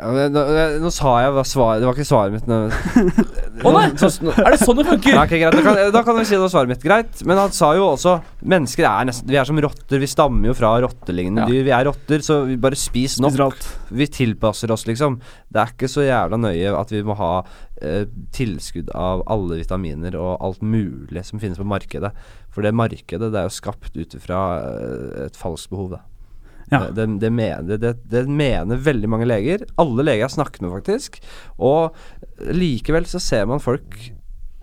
Ja, men nå, nå sa jeg hva svar, Det var ikke svaret mitt. nå-
Å nei! Er det sånn det funker?
Nei, ok, greit. Da kan, da kan du si det var svaret mitt. Greit. Men han sa jo også mennesker er nesten Vi er som rotter. Vi stammer jo fra rottelignende
Ja.
dyr. Vi er rotter, så vi bare spis nok.
Spiser alt.
Vi tilpasser oss, liksom. Det er ikke så jævla nøye at vi må ha eh, tilskudd av alle vitaminer og alt mulig som finnes på markedet. For det markedet det er jo skapt ut ifra eh, et falskt behov, da.
Ja.
Det, Eh, det, mener, det, det mener veldig mange leger. Alle leger jeg har snakket med, faktisk. Og likevel så ser man folk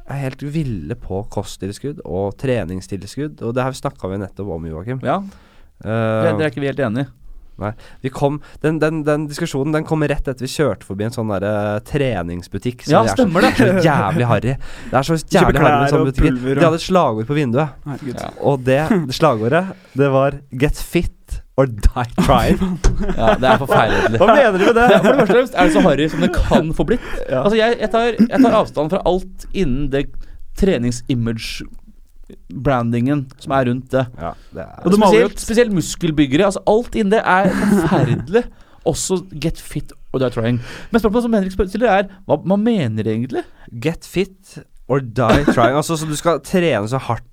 er helt ville på kosttilskudd og treningstilskudd. Og det her snakka vi nettopp om, Joakim.
Ja, det,
Eh,
det er ikke vi helt enig i.
vi kom, den, den, den diskusjonen den kom rett etter vi kjørte forbi en sånn der, eh, treningsbutikk. som
Ja,
er så-
stemmer det.
Så jævlig harry. Det er så jævlig harry med
klær og
sånne butikker.
pulver og-
De hadde et slagord på vinduet,
Herregud.
Ja.
og det slagordet, det var 'Get fit or die trying'.
Ja, det er forferdelig.
Hva mener du med
Det er,
det?
for det første fremst er det så harry som det kan få blitt.
Ja.
Altså, jeg, jeg, tar, jeg tar avstand fra alt innen det treningsimage-brandingen som er rundt det.
Ja, det er
Og det maler jo
Spesielt, spesielt muskelbyggere. Altså, alt innen det er forferdelig. Også get fit og die trying. Men spørsmålet som Henrik spør- stiller, er hva man mener egentlig.
Get fit or die trying. Altså, så du skal trene så hardt.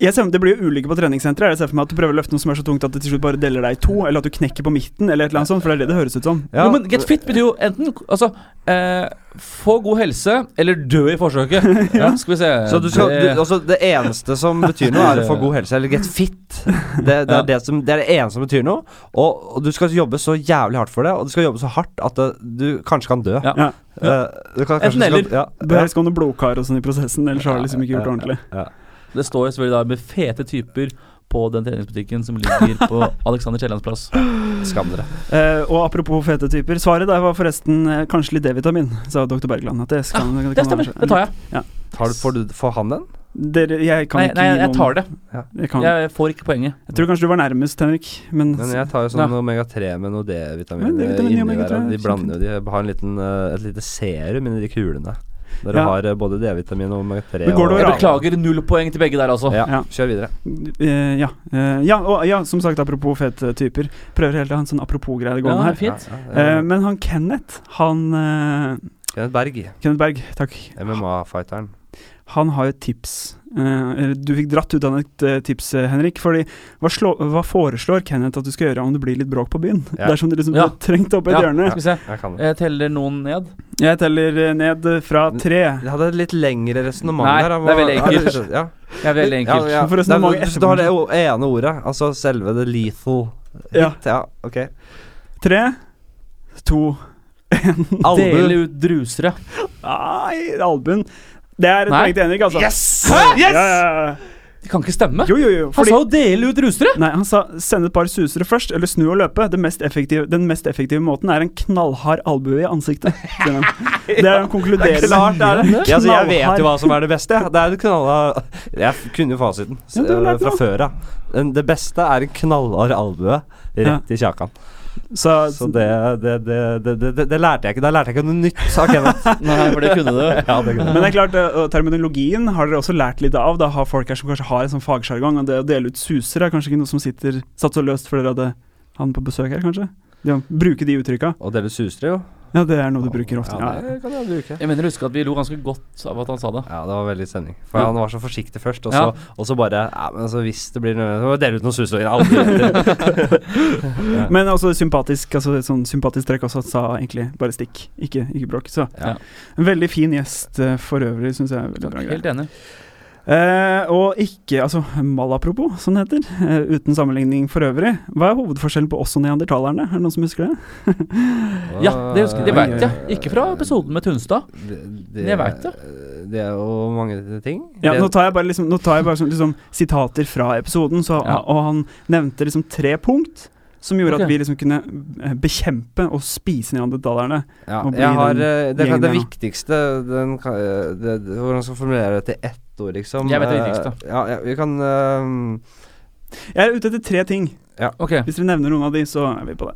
Jeg ser, det blir jo ulykker på treningssentre. Jeg ser for meg at du prøver å løfte noe som er så tungt at det til slutt bare deler deg i to, eller at du knekker på midten, eller et eller annet sånt, for det er det det høres ut som.
Ja,
Jo, men get fit betyr jo enten altså, eh, få god helse eller dø i forsøket. Ja, skal vi se
Så du skal,
Det-
du, altså det eneste som betyr noe, er å få god helse, eller get fit. Det, det,
Ja.
er, det, som, det er det eneste som betyr noe. Og, og du skal jobbe så jævlig hardt for det, og du skal jobbe så hardt at det, du kanskje kan dø.
Ja.
Ja.
Eh, du kan, kanskje
Enten
du skal-
eller.
Ja,
Det høres ikke om noe blodkar og sånn i prosessen, ellers har du liksom ikke gjort det ordentlig.
ja.
Det står jo selvfølgelig da med fete typer på den treningsbutikken som ligger på Alexander Kiellands plass.
Skam dere.
Eh, og apropos fete typer, svaret der var forresten eh, kanskje litt D-vitamin, sa dr. Bergland. At det, skal, kan
Ah, Det stemmer,
være-
det tar jeg.
Tar, du- får, du, får han den?
Dere, jeg kan
Nei,
ikke
nei jeg tar det.
Jeg, kan. Jeg,
Jeg får ikke poenget.
tror kanskje du var nærmest, Henrik, men,
Men jeg tar jo sånn
Ja.
omega-3 med noe D-vitamin eh,
Men D-vitamin Sånn i
inni
omega-3
der. og De
er kjempefint.
blander jo De har en liten, eh, et lite serum inni de kulene. Der
Ja.
du har eh, både D-vitamin og omega-3.
Men går det
og-
over
Jeg
Ja.
beklager null poeng til begge der, altså.
Ja,
Ja.
kjør videre.
eh, ja. Eh, ja, og, ja, som sagt, apropos fete typer. Prøver hele tiden å ha en sånn apropos-greie gående
Ja,
her.
fint.
Ja, ja, ja.
Eh, men han Kenneth, han eh,
Kenneth Berg,
Kenneth Berg, takk.
MMA-fighteren.
Han har jo et tips. Eh, eller du fikk dratt ut av et eh, tips, eh, Henrik. Fordi hva, slå, hva foreslår Kenneth at du skal gjøre om det blir litt bråk på byen?
Ja.
Dersom det liksom
Ja.
blir trengt opp i et
Ja,
hjørne.
Skal vi se.
Jeg kan det.
Jeg teller noen ned.
Jeg teller eh, ned fra tre.
Jeg hadde et litt lengre resonnement
Nei,
der.
det er veldig enkelt.
Ja,
Jeg er veldig enkelt.
Ja, ja.
For
Det
resonnementet
er- Du, du har det o- ene ordet, altså selve det lethal hit.
Ja.
Ja, ok.
Tre, to
Dele
Albu.
ut drusere.
Nei, albuen. Det er et
Nei.
poeng til Henrik, altså.
Yes!
Ja, ja, ja.
De kan ikke stemme.
Jo, jo, jo.
Han
Fordi,
sa jo 'dele ut rusere'!
nei, han sa send et par susere først, eller snu og løpe. Det mest effektive, den mest effektive måten er en knallhard albue i ansiktet. sier han. Det er han konkluderer
Klart det er det.
med.
Ja, altså, jeg vet
Knallhard.
jo hva som er det beste. Det er det knalla Jeg kunne jo fasiten s-
Ja, du har lært
fra
noe.
før av. Men Det beste er en knallhard albue
Ja.
rett i kjakan.
Så,
Så det det, det, det, det, det, det lærte jeg ikke. Da lærte jeg ikke noe nytt, sa Kenneth.
Nei, for det kunne du.
Ja, det kunne
Men det er klart, eh, og terminologien har dere også lært litt av. Da har folk her som kanskje har en sånn fagsjargong, og det å dele ut suser er kanskje ikke noe som sitter satt så løst for dere hadde han på besøk her, kanskje? Det å bruke de uttrykka.
Og dere suser jo.
Ja, det er noe du bruker ofte.
Ja,
Ja.
det kan jeg bruke.
Jeg mener å huske at vi lo ganske godt av at han sa det.
Ja, det var veldig stemning. For
Ja.
han var så forsiktig først, og
Ja.
så, og så bare ja, men altså, Hvis det blir nødvendig, så må vi dele ut noen suser.
Men også sympatisk, altså et sånn sympatisk trekk også, at sa egentlig bare stikk, ikke, ikke bråk. Så
Ja.
en veldig fin gjest eh, for øvrig, syns jeg. er veldig bra
Helt
greie.
enig.
Eh, og ikke Altså, malapropos, som det heter. eh, uten sammenligning for øvrig. Hva er hovedforskjellen på oss og neandertalerne? Er det noen som husker det?
Ja, det husker jeg. Det
vet
veit jeg. Ikke fra episoden med Tunstad. Men jeg vet det.
Det er jo mange ting.
Ja,
det,
nå tar jeg bare, liksom, nå tar jeg bare sånn, liksom, sitater fra episoden, så,
Ja.
og han nevnte liksom tre punkt som gjorde
Ok.
at vi liksom kunne eh, bekjempe og spise neandertalerne.
ja,
nå blir
jeg har,
den
eh, det, det
gjengen der nå.
viktigste den, kan- eh, det, det, Hvordan skal jeg formulere det til ett ord, liksom?
Jeg vet det
Eh,
viktigste.
Ja, ja, vi kan eh,
Jeg er ute etter tre ting.
Ok,
Hvis dere nevner noen av de, så er vi på det.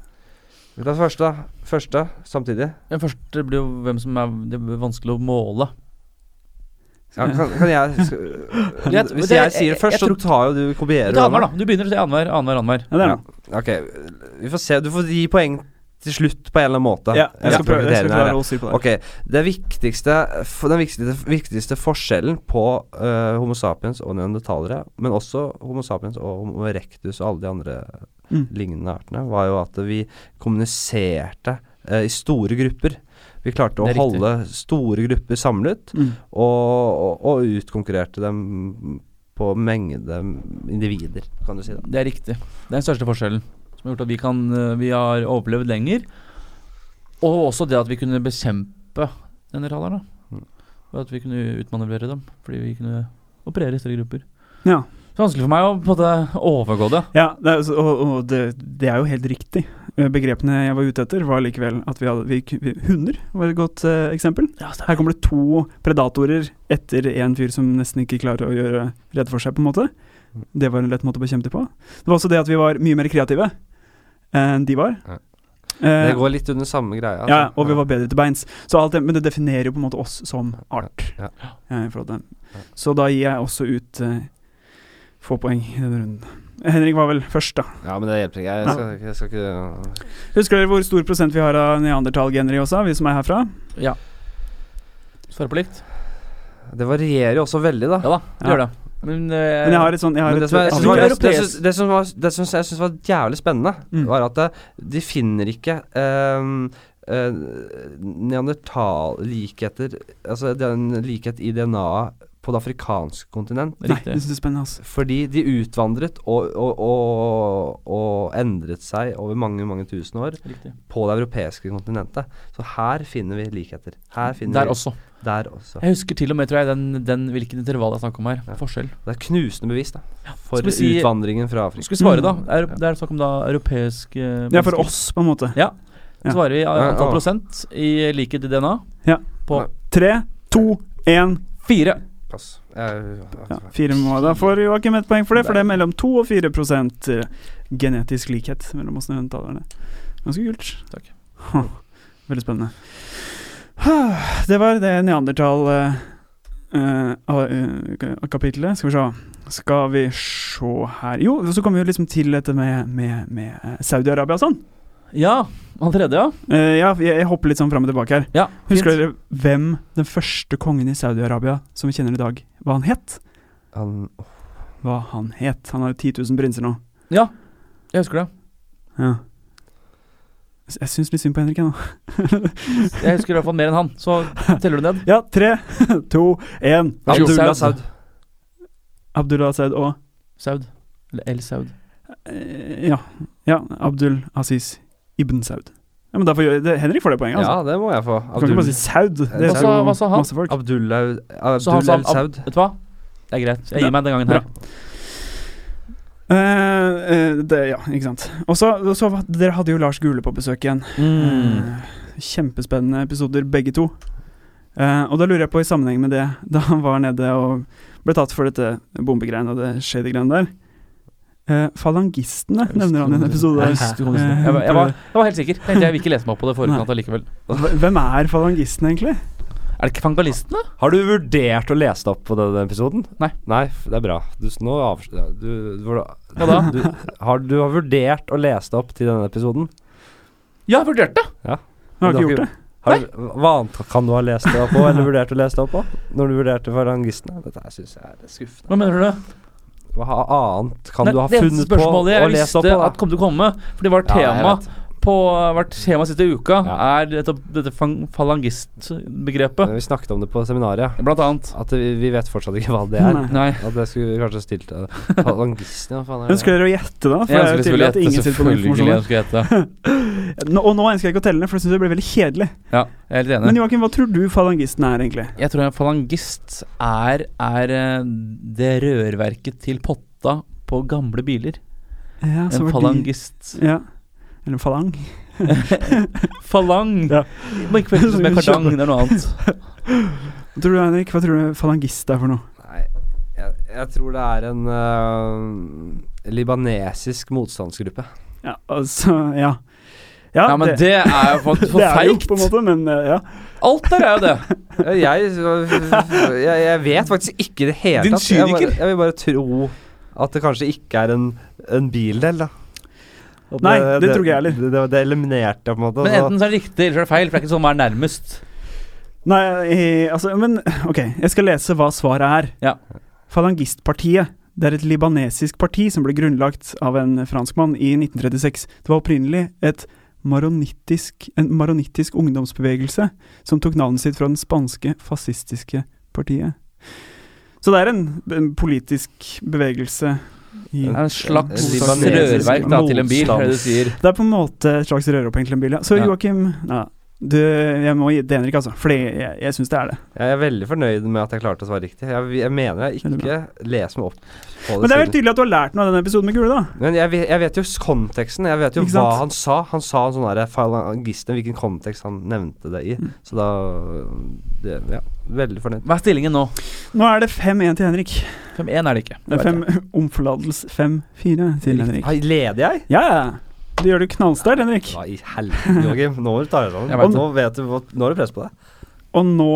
Vi tar første, da. første samtidig.
Den første blir jo hvem som er Det blir vanskelig å måle.
Ja, kan, kan jeg skal,
Jeg-
Hvis
det-
jeg,
jeg-
sier
jeg-
først,
jeg tror-
så tar jo du kopierer.
Ta
over.
annenhver, da. Du begynner å si annenhver, annenhver, annenhver.
Ja, det er
Ja.
det.
Ok, vi får se. Du får gi poeng til slutt på en eller annen måte.
Ja, jeg skal
Etter
prøve jeg skal
vurderingen her,
klare
ja.
å holde styr på det.
Ok, det viktigste, f- Den viktigste, viktigste forskjellen på eh, Homo sapiens og neandertalere, men også Homo sapiens og Homo erectus og alle de andre
Mm.
lignende artene, var jo at vi kommuniserte eh, i store grupper. Vi klarte å
Det er riktig.
holde store grupper samlet,
Mm.
og, og, og utkonkurrerte dem på mengde individer, kan du si. da
Det er riktig. Det er den største forskjellen. Som har gjort at vi, kan, eh, vi har overlevd lenger. Og også det at vi kunne bekjempe generalerne.
Mm.
Og at vi kunne utmanøvrere dem. Fordi vi kunne operere i større grupper.
Ja.
Så vanskelig for meg å på en måte overgå det.
Ja, det er, altså- og, og det, det er jo helt riktig. Eh, Begrepene jeg var ute etter, var likevel at vi hadde vi, ku- vi, Hunder var et godt eh, eksempel. Her kommer det to predatorer etter en fyr som nesten ikke klarer å gjøre redd for seg, på en måte. Det var en lett måte å bekjempe dem på. Det var også det at vi var mye mer kreative enn de var. Eh,
Det går altså. litt under samme greia.
ja, og vi var bedre til beins. Så alt det, men det definerer jo på en måte oss som art.
Ja.
eh, i forhold til den. Så da gir jeg også ut eh, få poeng i denne runden. Henrik var vel først, da.
Ja, men det hjelper ikke. Jeg skal, jeg skal ikke
Husker dere hvor stor prosent vi har av neandertalgener i oss, vi som er herfra?
Ja. Svare på likt?
Det varierer jo også veldig, da.
Ja da, det
Ja.
gjør det. Men, eh,
Men jeg har et sånn jeg har
Men det
et,
som, jeg,
jeg
synes
tror
var,
det er
det,
europeisk.
synes- det, som var, det som jeg syns var jævlig spennende,
Mm.
var at eh, de finner ikke um, neandertal-likheter Altså den likhet i DNA-et på det afrikanske kontinent.
Nei,
Riktig.
det synes jeg er spennende, altså.
Fordi de utvandret og, og, og, og endret seg over mange mange tusen år
riktig.
på det europeiske kontinentet. Så her finner vi likheter. Her finner
Der
vi
også.
Der også.
Jeg husker til og med, tror jeg, den, den hvilken intervall det er snakk om her.
Ja.
Forskjell.
Det er knusende bevis da for
Skal vi si-
utvandringen fra Afrika.
Skal vi svare, da?
Mm.
Er, det er snakk om da eh, europeiske
Det er for oss, på en måte.
Ja.
Ja.
Svarer vi
Ja.
antall prosent i likhet i DNA?
Ja.
På
Tre, to, én
fire.
Pass. Jeg-
ja, Fire må Da får Joakim ett poeng for det, for det er mellom to og fire prosent eh, genetisk likhet mellom oss neandertalerne. Ganske kult.
Takk.
Huh. Veldig spennende. Huh. Det var det eh, neandertal-kapitlet. eh, skal vi se. Skal vi se her Jo, så kommer vi jo liksom til dette med, med, med eh, Saudi-Arabia og sånn.
Ja. Han tredje, ja.
Eh, ja, jeg, jeg hopper litt sånn fram og tilbake her.
ja
Husker
fint.
dere hvem den første kongen i Saudi-Arabia som vi kjenner i dag, hva han het?
Han,
Hva han het? Han har jo 10 000 prinser nå.
Ja, jeg husker det.
Ja. Jeg- Jeg syns litt synd på Henrik ennå.
Jeg husker i hvert fall mer enn han. Så teller du ned.
Ja, tre, to, én.
Abdullah
Abdullah
Saud.
Saud. Abdullah Saud og
Saud. Eller El Saud.
eh, ja. ja. Abdul Aziz ibn Saud. Ja, men da får jeg- det, Henrik får det poenget, altså.
Ja, det må jeg få.
Du kan ikke bare si
Abdul,
Saud. Det
Hva
er
sa-
jo
hva sa han?
masse folk.
Abdullah
Så han
Abdul
sa
El
Ab-
Saud.
Vet du hva? Det er greit. Jeg
Ja,
gir meg den gangen
bra.
her.
Eh, eh, det, ja, ikke sant. Og så, og så var- Dere hadde jo Lars Gule på besøk igjen.
Mm.
Eh, Kjempespennende episoder, begge to. Eh, og da lurer jeg på, i sammenheng med det, da han var nede og ble tatt for dette bombegreiene og det shady-greiene der eh, Falangistene
Jeg
nevner han i en episode.
Jeg,
der. Eh,
visste du kom til å si det. jeg, var- jeg, var, jeg var helt sikker. Tenkte Jeg vil ikke lese meg opp på det i forkant allikevel.
Hva- Hvem er falangistene, egentlig?
Er det ikke fangalistene?
Har du vurdert å lese opp på denne episoden?
Nei.
Nei, f- det er bra. Du, s- nå avs- ja, du, du,
Hva da?
Du, har, du har vurdert å lese det opp til denne episoden?
Ja, jeg vurderte!
Han har
Du
ikke gjort det.
Har, hva annet kan du ha lest det opp på, eller vurdert å lese det opp på? Når du vurderte falangistene? Dette her syns jeg er skuffende.
Hva mener du?
Hva annet kan
Nei,
du ha
det eneste
funnet på
spørsmålet
å
jeg
lese
visste
opp på? da?
at kom til å komme, for det var
Ja, jeg
tema
vet.
på hvert tema siste uka,
Ja.
er dette, dette fang- falangistbegrepet.
Vi snakket om det på seminaret.
Blant annet.
At vi, vi vet fortsatt ikke hva det er.
Nei.
Nei.
At jeg skulle kanskje stilt eh, Falangisten, hva faen er
Ønsker dere å gjette, da? For
Jeg
det er jo
ønsker selvfølgelig
tydelig at
hete,
ingen sitter på den
selvfølgelig
informasjonen.
ønsker jeg hete.
Nå, og nå ønsker jeg ikke å telle ned, for det syns jeg blir veldig kjedelig.
Ja, jeg er helt enig.
Men Joakim, hva tror du falangisten er, egentlig?
Jeg tror en falangist er, er eh, det rørverket til potta på gamle biler.
Ja,
En
så var de-
falangist.
Ja. Eller en falang.
Falang!
Ja.
Må ikke forveksles med kardang, det er noe annet.
Hva tror du, Henrik? Hva tror du falangist er for noe?
Nei, jeg, jeg tror det er en eh, libanesisk motstandsgruppe.
Ja, altså Ja. Ja,
Ja, men det er jo for, for
det er jo
feigt.
på en måte, men eh, ja.
Alt der er jo det.
Jeg, jeg, jeg vet faktisk ikke i det hele
Din
tatt. Jeg, bare,
kyniker.
jeg vil bare tro at det kanskje ikke er en, en bildel, da. At
Nei, det tror ikke jeg heller.
Det, det, det eliminerte jeg på en måte.
Men
og så-
enten så er det riktig, eller så er det feil. For det er ikke sånn man er nærmest.
Nei, eh, altså Men OK, jeg skal lese hva svaret er.
Ja.
Falangistpartiet. Det er et libanesisk parti som ble grunnlagt av en franskmann i 1936. Det var opprinnelig et maronittisk, en maronittisk ungdomsbevegelse som tok navnet sitt fra den spanske fascistiske partiet. Så det er en, en politisk bevegelse i
Det er en slags
En libanesisk
rørverk da, til en bil, er det du sier.
det er på en måte et slags røropphengt til en bil, ja. Så
Ja.
Joakim ja, du, Jeg må gi det Henrik, altså. Fordi jeg, jeg syns det er det.
Jeg er veldig fornøyd med at jeg klarte å svare riktig. Jeg, jeg mener jeg
Veldig
ikke leser meg opp på det.
Men det er vel
selv.
tydelig at du har lært noe av denne episoden med Gule, da.
Men jeg, ve- jeg vet jo s- konteksten. Jeg vet jo
Ikke
hva
sant?
han sa. Han sa en sånn derre falangisten, hvilken kontekst han nevnte det
Mm.
i. Så da det, Ja, veldig fornøyd.
Hva er stillingen nå?
Nå er det 5-1 til Henrik.
5-1 er det ikke.
Det er fem, omforlatelse 5-4 til Henrik.
Hei, Leder jeg?
Ja, ja. Du gjør det knallsterkt, Henrik.
Hva i helvete, Joakim? Nå må du ta deg
Jeg
sammen.
vet
Nå vet du hva- Nå er det press på deg.
Og nå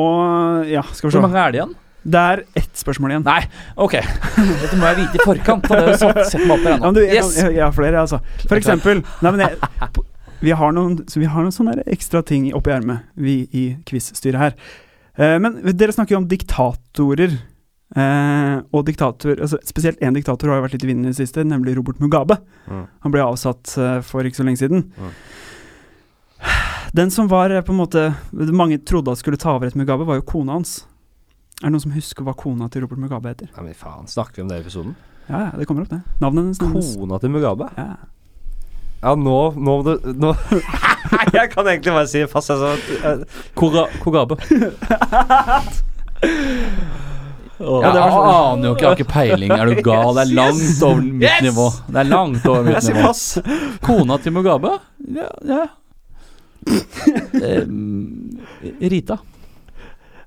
Ja, skal
Hvor
vi se.
mange er det igjen?
Det er ett spørsmål igjen.
Nei, ok. Dette må jeg vite i forkant. Da det er jo satt, sett meg opp her
Ja, men
ennå.
du, jeg,
Yes.
kan, jeg, jeg har flere, altså. For
Jeg er klar.
eksempel Nei, men jeg, på- vi har noen, så vi har noen sånne der ekstra ting oppi ermet, vi i quiz-styret her. Eh, men dere snakker jo om diktatorer. Eh, og diktator, altså Spesielt én diktator har jo vært litt i vinden i det siste, nemlig Robert Mugabe.
Mm.
Han ble avsatt eh, for ikke så lenge siden.
Mm.
Den som var eh, på en måte mange trodde at skulle ta over etter Mugabe, var jo kona hans. Er det noen som husker hva kona til Robert Mugabe heter?
Nei, men faen, snakker vi om det i episoden?
Ja, ja, det kommer opp, det. Navnet hennes. nevnes.
Kona til Mugabe?
Ja.
Ja, nå Nå må du Nå Jeg kan egentlig bare si fast altså,
Kora, Kogabe.
Ja, det
jeg
var sånn.
aner jo ikke, jeg har ikke peiling. Er du gal? Det er langt over mitt
Yes!
nivå. Det er langt over
Jeg
mitt
sier
nivå.
pass.
Kona til Mugabe? Ja, ja. Eh, Rita.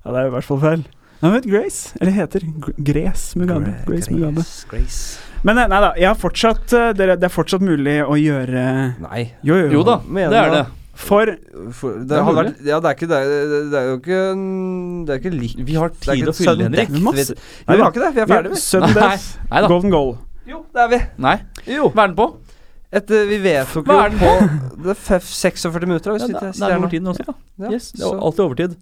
Ja, det er i hvert fall feil. Nei, men Grace, eller heter Gr- Grace Mugabe. Grace Mugabe.
Grace.
Men eh, nei, nei da, jeg har fortsatt, eh, dere, det er fortsatt mulig å gjøre
Nei.
Jo, jo.
Jo da,
Mener
det er
du
det.
da?
For
For, det,
Det er
hadde
mulig.
vært, ja, det er ikke det, det, det er jo ikke en- Det er ikke likt
Vi har
Det er
tid
ikke
å fylle,
sudden
Henrik.
death,
Masse-
vi- Nei, vi har ikke det. Vi er ferdige, vi.
Sudden
Nei,
Death,
nei da.
Golden Goal.
Jo, det er vi.
Nei.
Jo.
Hva er den på?
Etter, vi vedtok jo
Hva er den
på det er 46 minutter. da,
Ja,
Hvis
det
vi
det
sitter
er
her nå.
over tiden også.
Ja,
Yes, det
så-
er alltid overtid.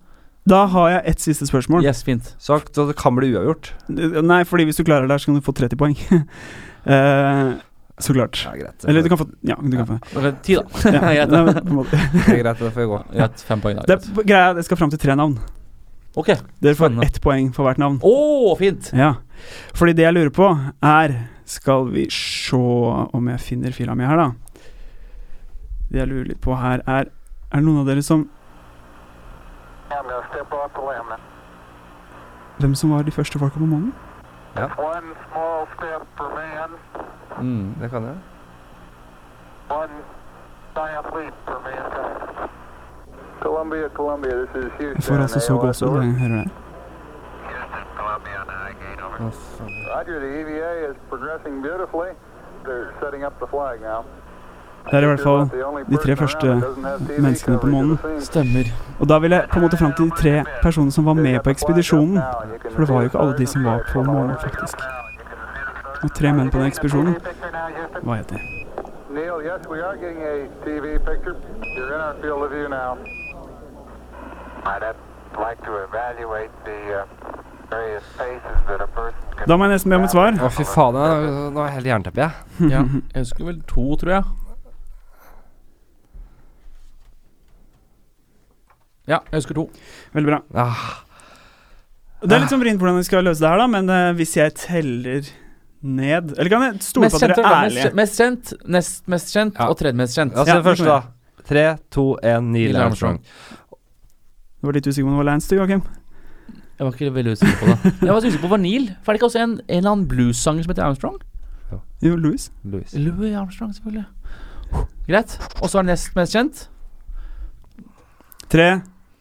Da har jeg ett siste spørsmål.
Yes, fint.
Så ak- så det kan bli uavgjort.
Nei, fordi hvis du klarer det her, så kan du få 30 poeng. Eh, så klart.
Ja, greit.
Eller du kan få Ja, du kan få
Ok, Ti, da.
ja.
Greit,
Nei, men på en måte.
Ja, greit, da får jeg gå.
Greit, fem poeng. da,
Det
greit.
er greia, det skal fram til tre navn.
Ok.
Dere får
Spennende.
ett poeng for hvert navn.
Å, fint!
Ja, fordi det jeg lurer på er Skal vi se om jeg finner fila mi her, da. Det jeg lurer litt på her, er Er det noen av dere som
I'm gonna step off the limb.
Hvem som var de første folka på månen?
One small step for man,
Mm.
Det kan jeg.
one giant leap for mankind. Columbia, Columbia, this is Houston.
Jeg får altså så gåsehud når jeg hører det.
Houston, Columbia, navigate
Å,
over.
faen.
Roger, the EVA is progressing beautifully. They're setting up the flag now.
Det er i hvert fall de tre første menneskene på månen.
Stemmer.
Og da vil jeg på en måte fram til de tre personene som var med på ekspedisjonen. For det var jo ikke alle de som var på månen, faktisk. Og tre menn på den ekspedisjonen. Hva heter de?
Neil, yes, we are getting a TV picture. You're in our field of view now. I'd like to evaluate the uh, various paces that a person can
Da må jeg nesten be om et svar.
Å, fy faen. jeg- Nå er jeg helt jernteppe, jeg.
Ja. Jeg husker vel to, tror jeg. Ja, jeg husker to.
Veldig bra.
Ah,
Det er litt sånn vrient hvordan vi skal løse det her, da, men eh, hvis jeg teller ned Eller kan jeg stole
Mest
på at
kjent,
dere er
mest,
ærlige?
kjent- mest kjent, nest mest kjent
Ja.
og tredje mest kjent.
altså,
Ja,
det første,
kom
da. Tre, to, én, Neil
Neil Armstrong.
Armstrong.
Du var litt usikker på om det var Lance, du, Joakim.
Jeg var ikke veldig usikker på det. Jeg var så usikker på Vanil. For er det ikke også en, en eller annen bluessanger som heter Armstrong?
Jo, Louis.
Louis.
Louis Armstrong, selvfølgelig. Greit. Og så er det nest mest kjent.
Tre,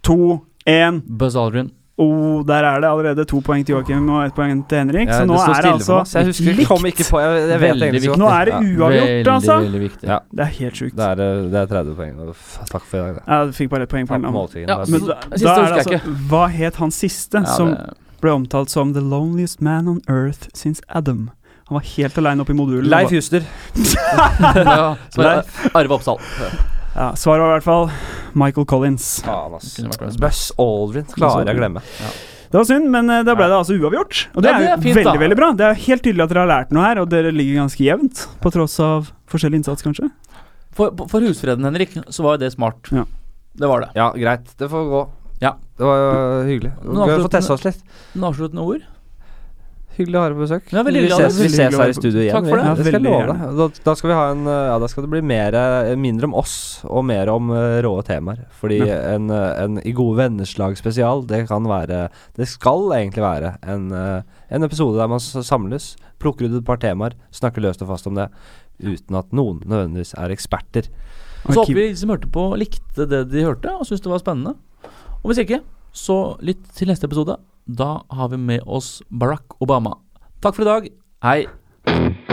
to, én
Buzz Aldrin.
Oh, der er det allerede to poeng til Joakim og ett poeng til Henrik.
Ja,
så nå
det står
er det
stille for
altså
meg, så jeg husker jeg kom ikke på Jeg, jeg vet
Veldig
egentlig
viktig.
ikke.
Nå er det uavgjort,
veldig,
altså!
veldig viktig.
Ja.
Det er helt sjukt.
Det er, eh, det er 30 poeng. og f- Takk for i dag, det.
Ja, du fikk bare ett poeng for
Takk
den.
for
da.
måltiden.
Ja,
Bare-
men-
Men da, da
husker
er det
jeg
altså Hva het han siste
Ja,
som
det-
ble omtalt som the loneliest man on earth since Adam? Han var helt aleine oppe i modulen.
Leif Juster.
ja, så er
Nei.
det Arve Oppsal.
Ja, svaret var i hvert fall Michael Collins.
Faen, ass.
Kunne vært Buzz.
Buzz Aldrin klarer jeg å glemme.
Det var synd, men eh, da ble det altså uavgjort. Og det
Ja, det
er
er
jo
fint, da.
veldig veldig bra. Det er helt tydelig at dere har lært noe her, og dere ligger ganske jevnt. På tross av forskjellig innsats, kanskje.
For, for husfreden, Henrik, så var jo det smart.
Ja.
Det var det.
Ja, greit. Det får gå.
Ja.
Det var jo hyggelig.
Nå
Gøy å
avslutter-
få testa oss litt.
Noen avsluttende ord?
Hyggelig å ha deg på besøk.
Ja, veldig
vi
hyggelig å ha deg.
ses, vi
Veldig
ses
hyggelig å
her
ha
i
deg på-
studio igjen.
Takk for det.
vi.
Ja,
det skal jeg
veldig
love
gjerne.
deg. Da, da skal vi ha en eh, Ja, da skal det bli mer, eh, mindre om oss og mer om eh, rå temaer. Fordi en, eh, en I gode venners lag spesial, det kan være Det skal egentlig være en, eh, en episode der man s- samles, plukker ut et par temaer, snakker løst og fast om det. Uten at noen nødvendigvis er eksperter.
Så
Arkiv-
håper vi de som hørte på, likte det de hørte, og syntes det var spennende. Og hvis ikke, så lytt til neste episode. Da har vi med oss Barack Obama. Takk for i dag. Hei.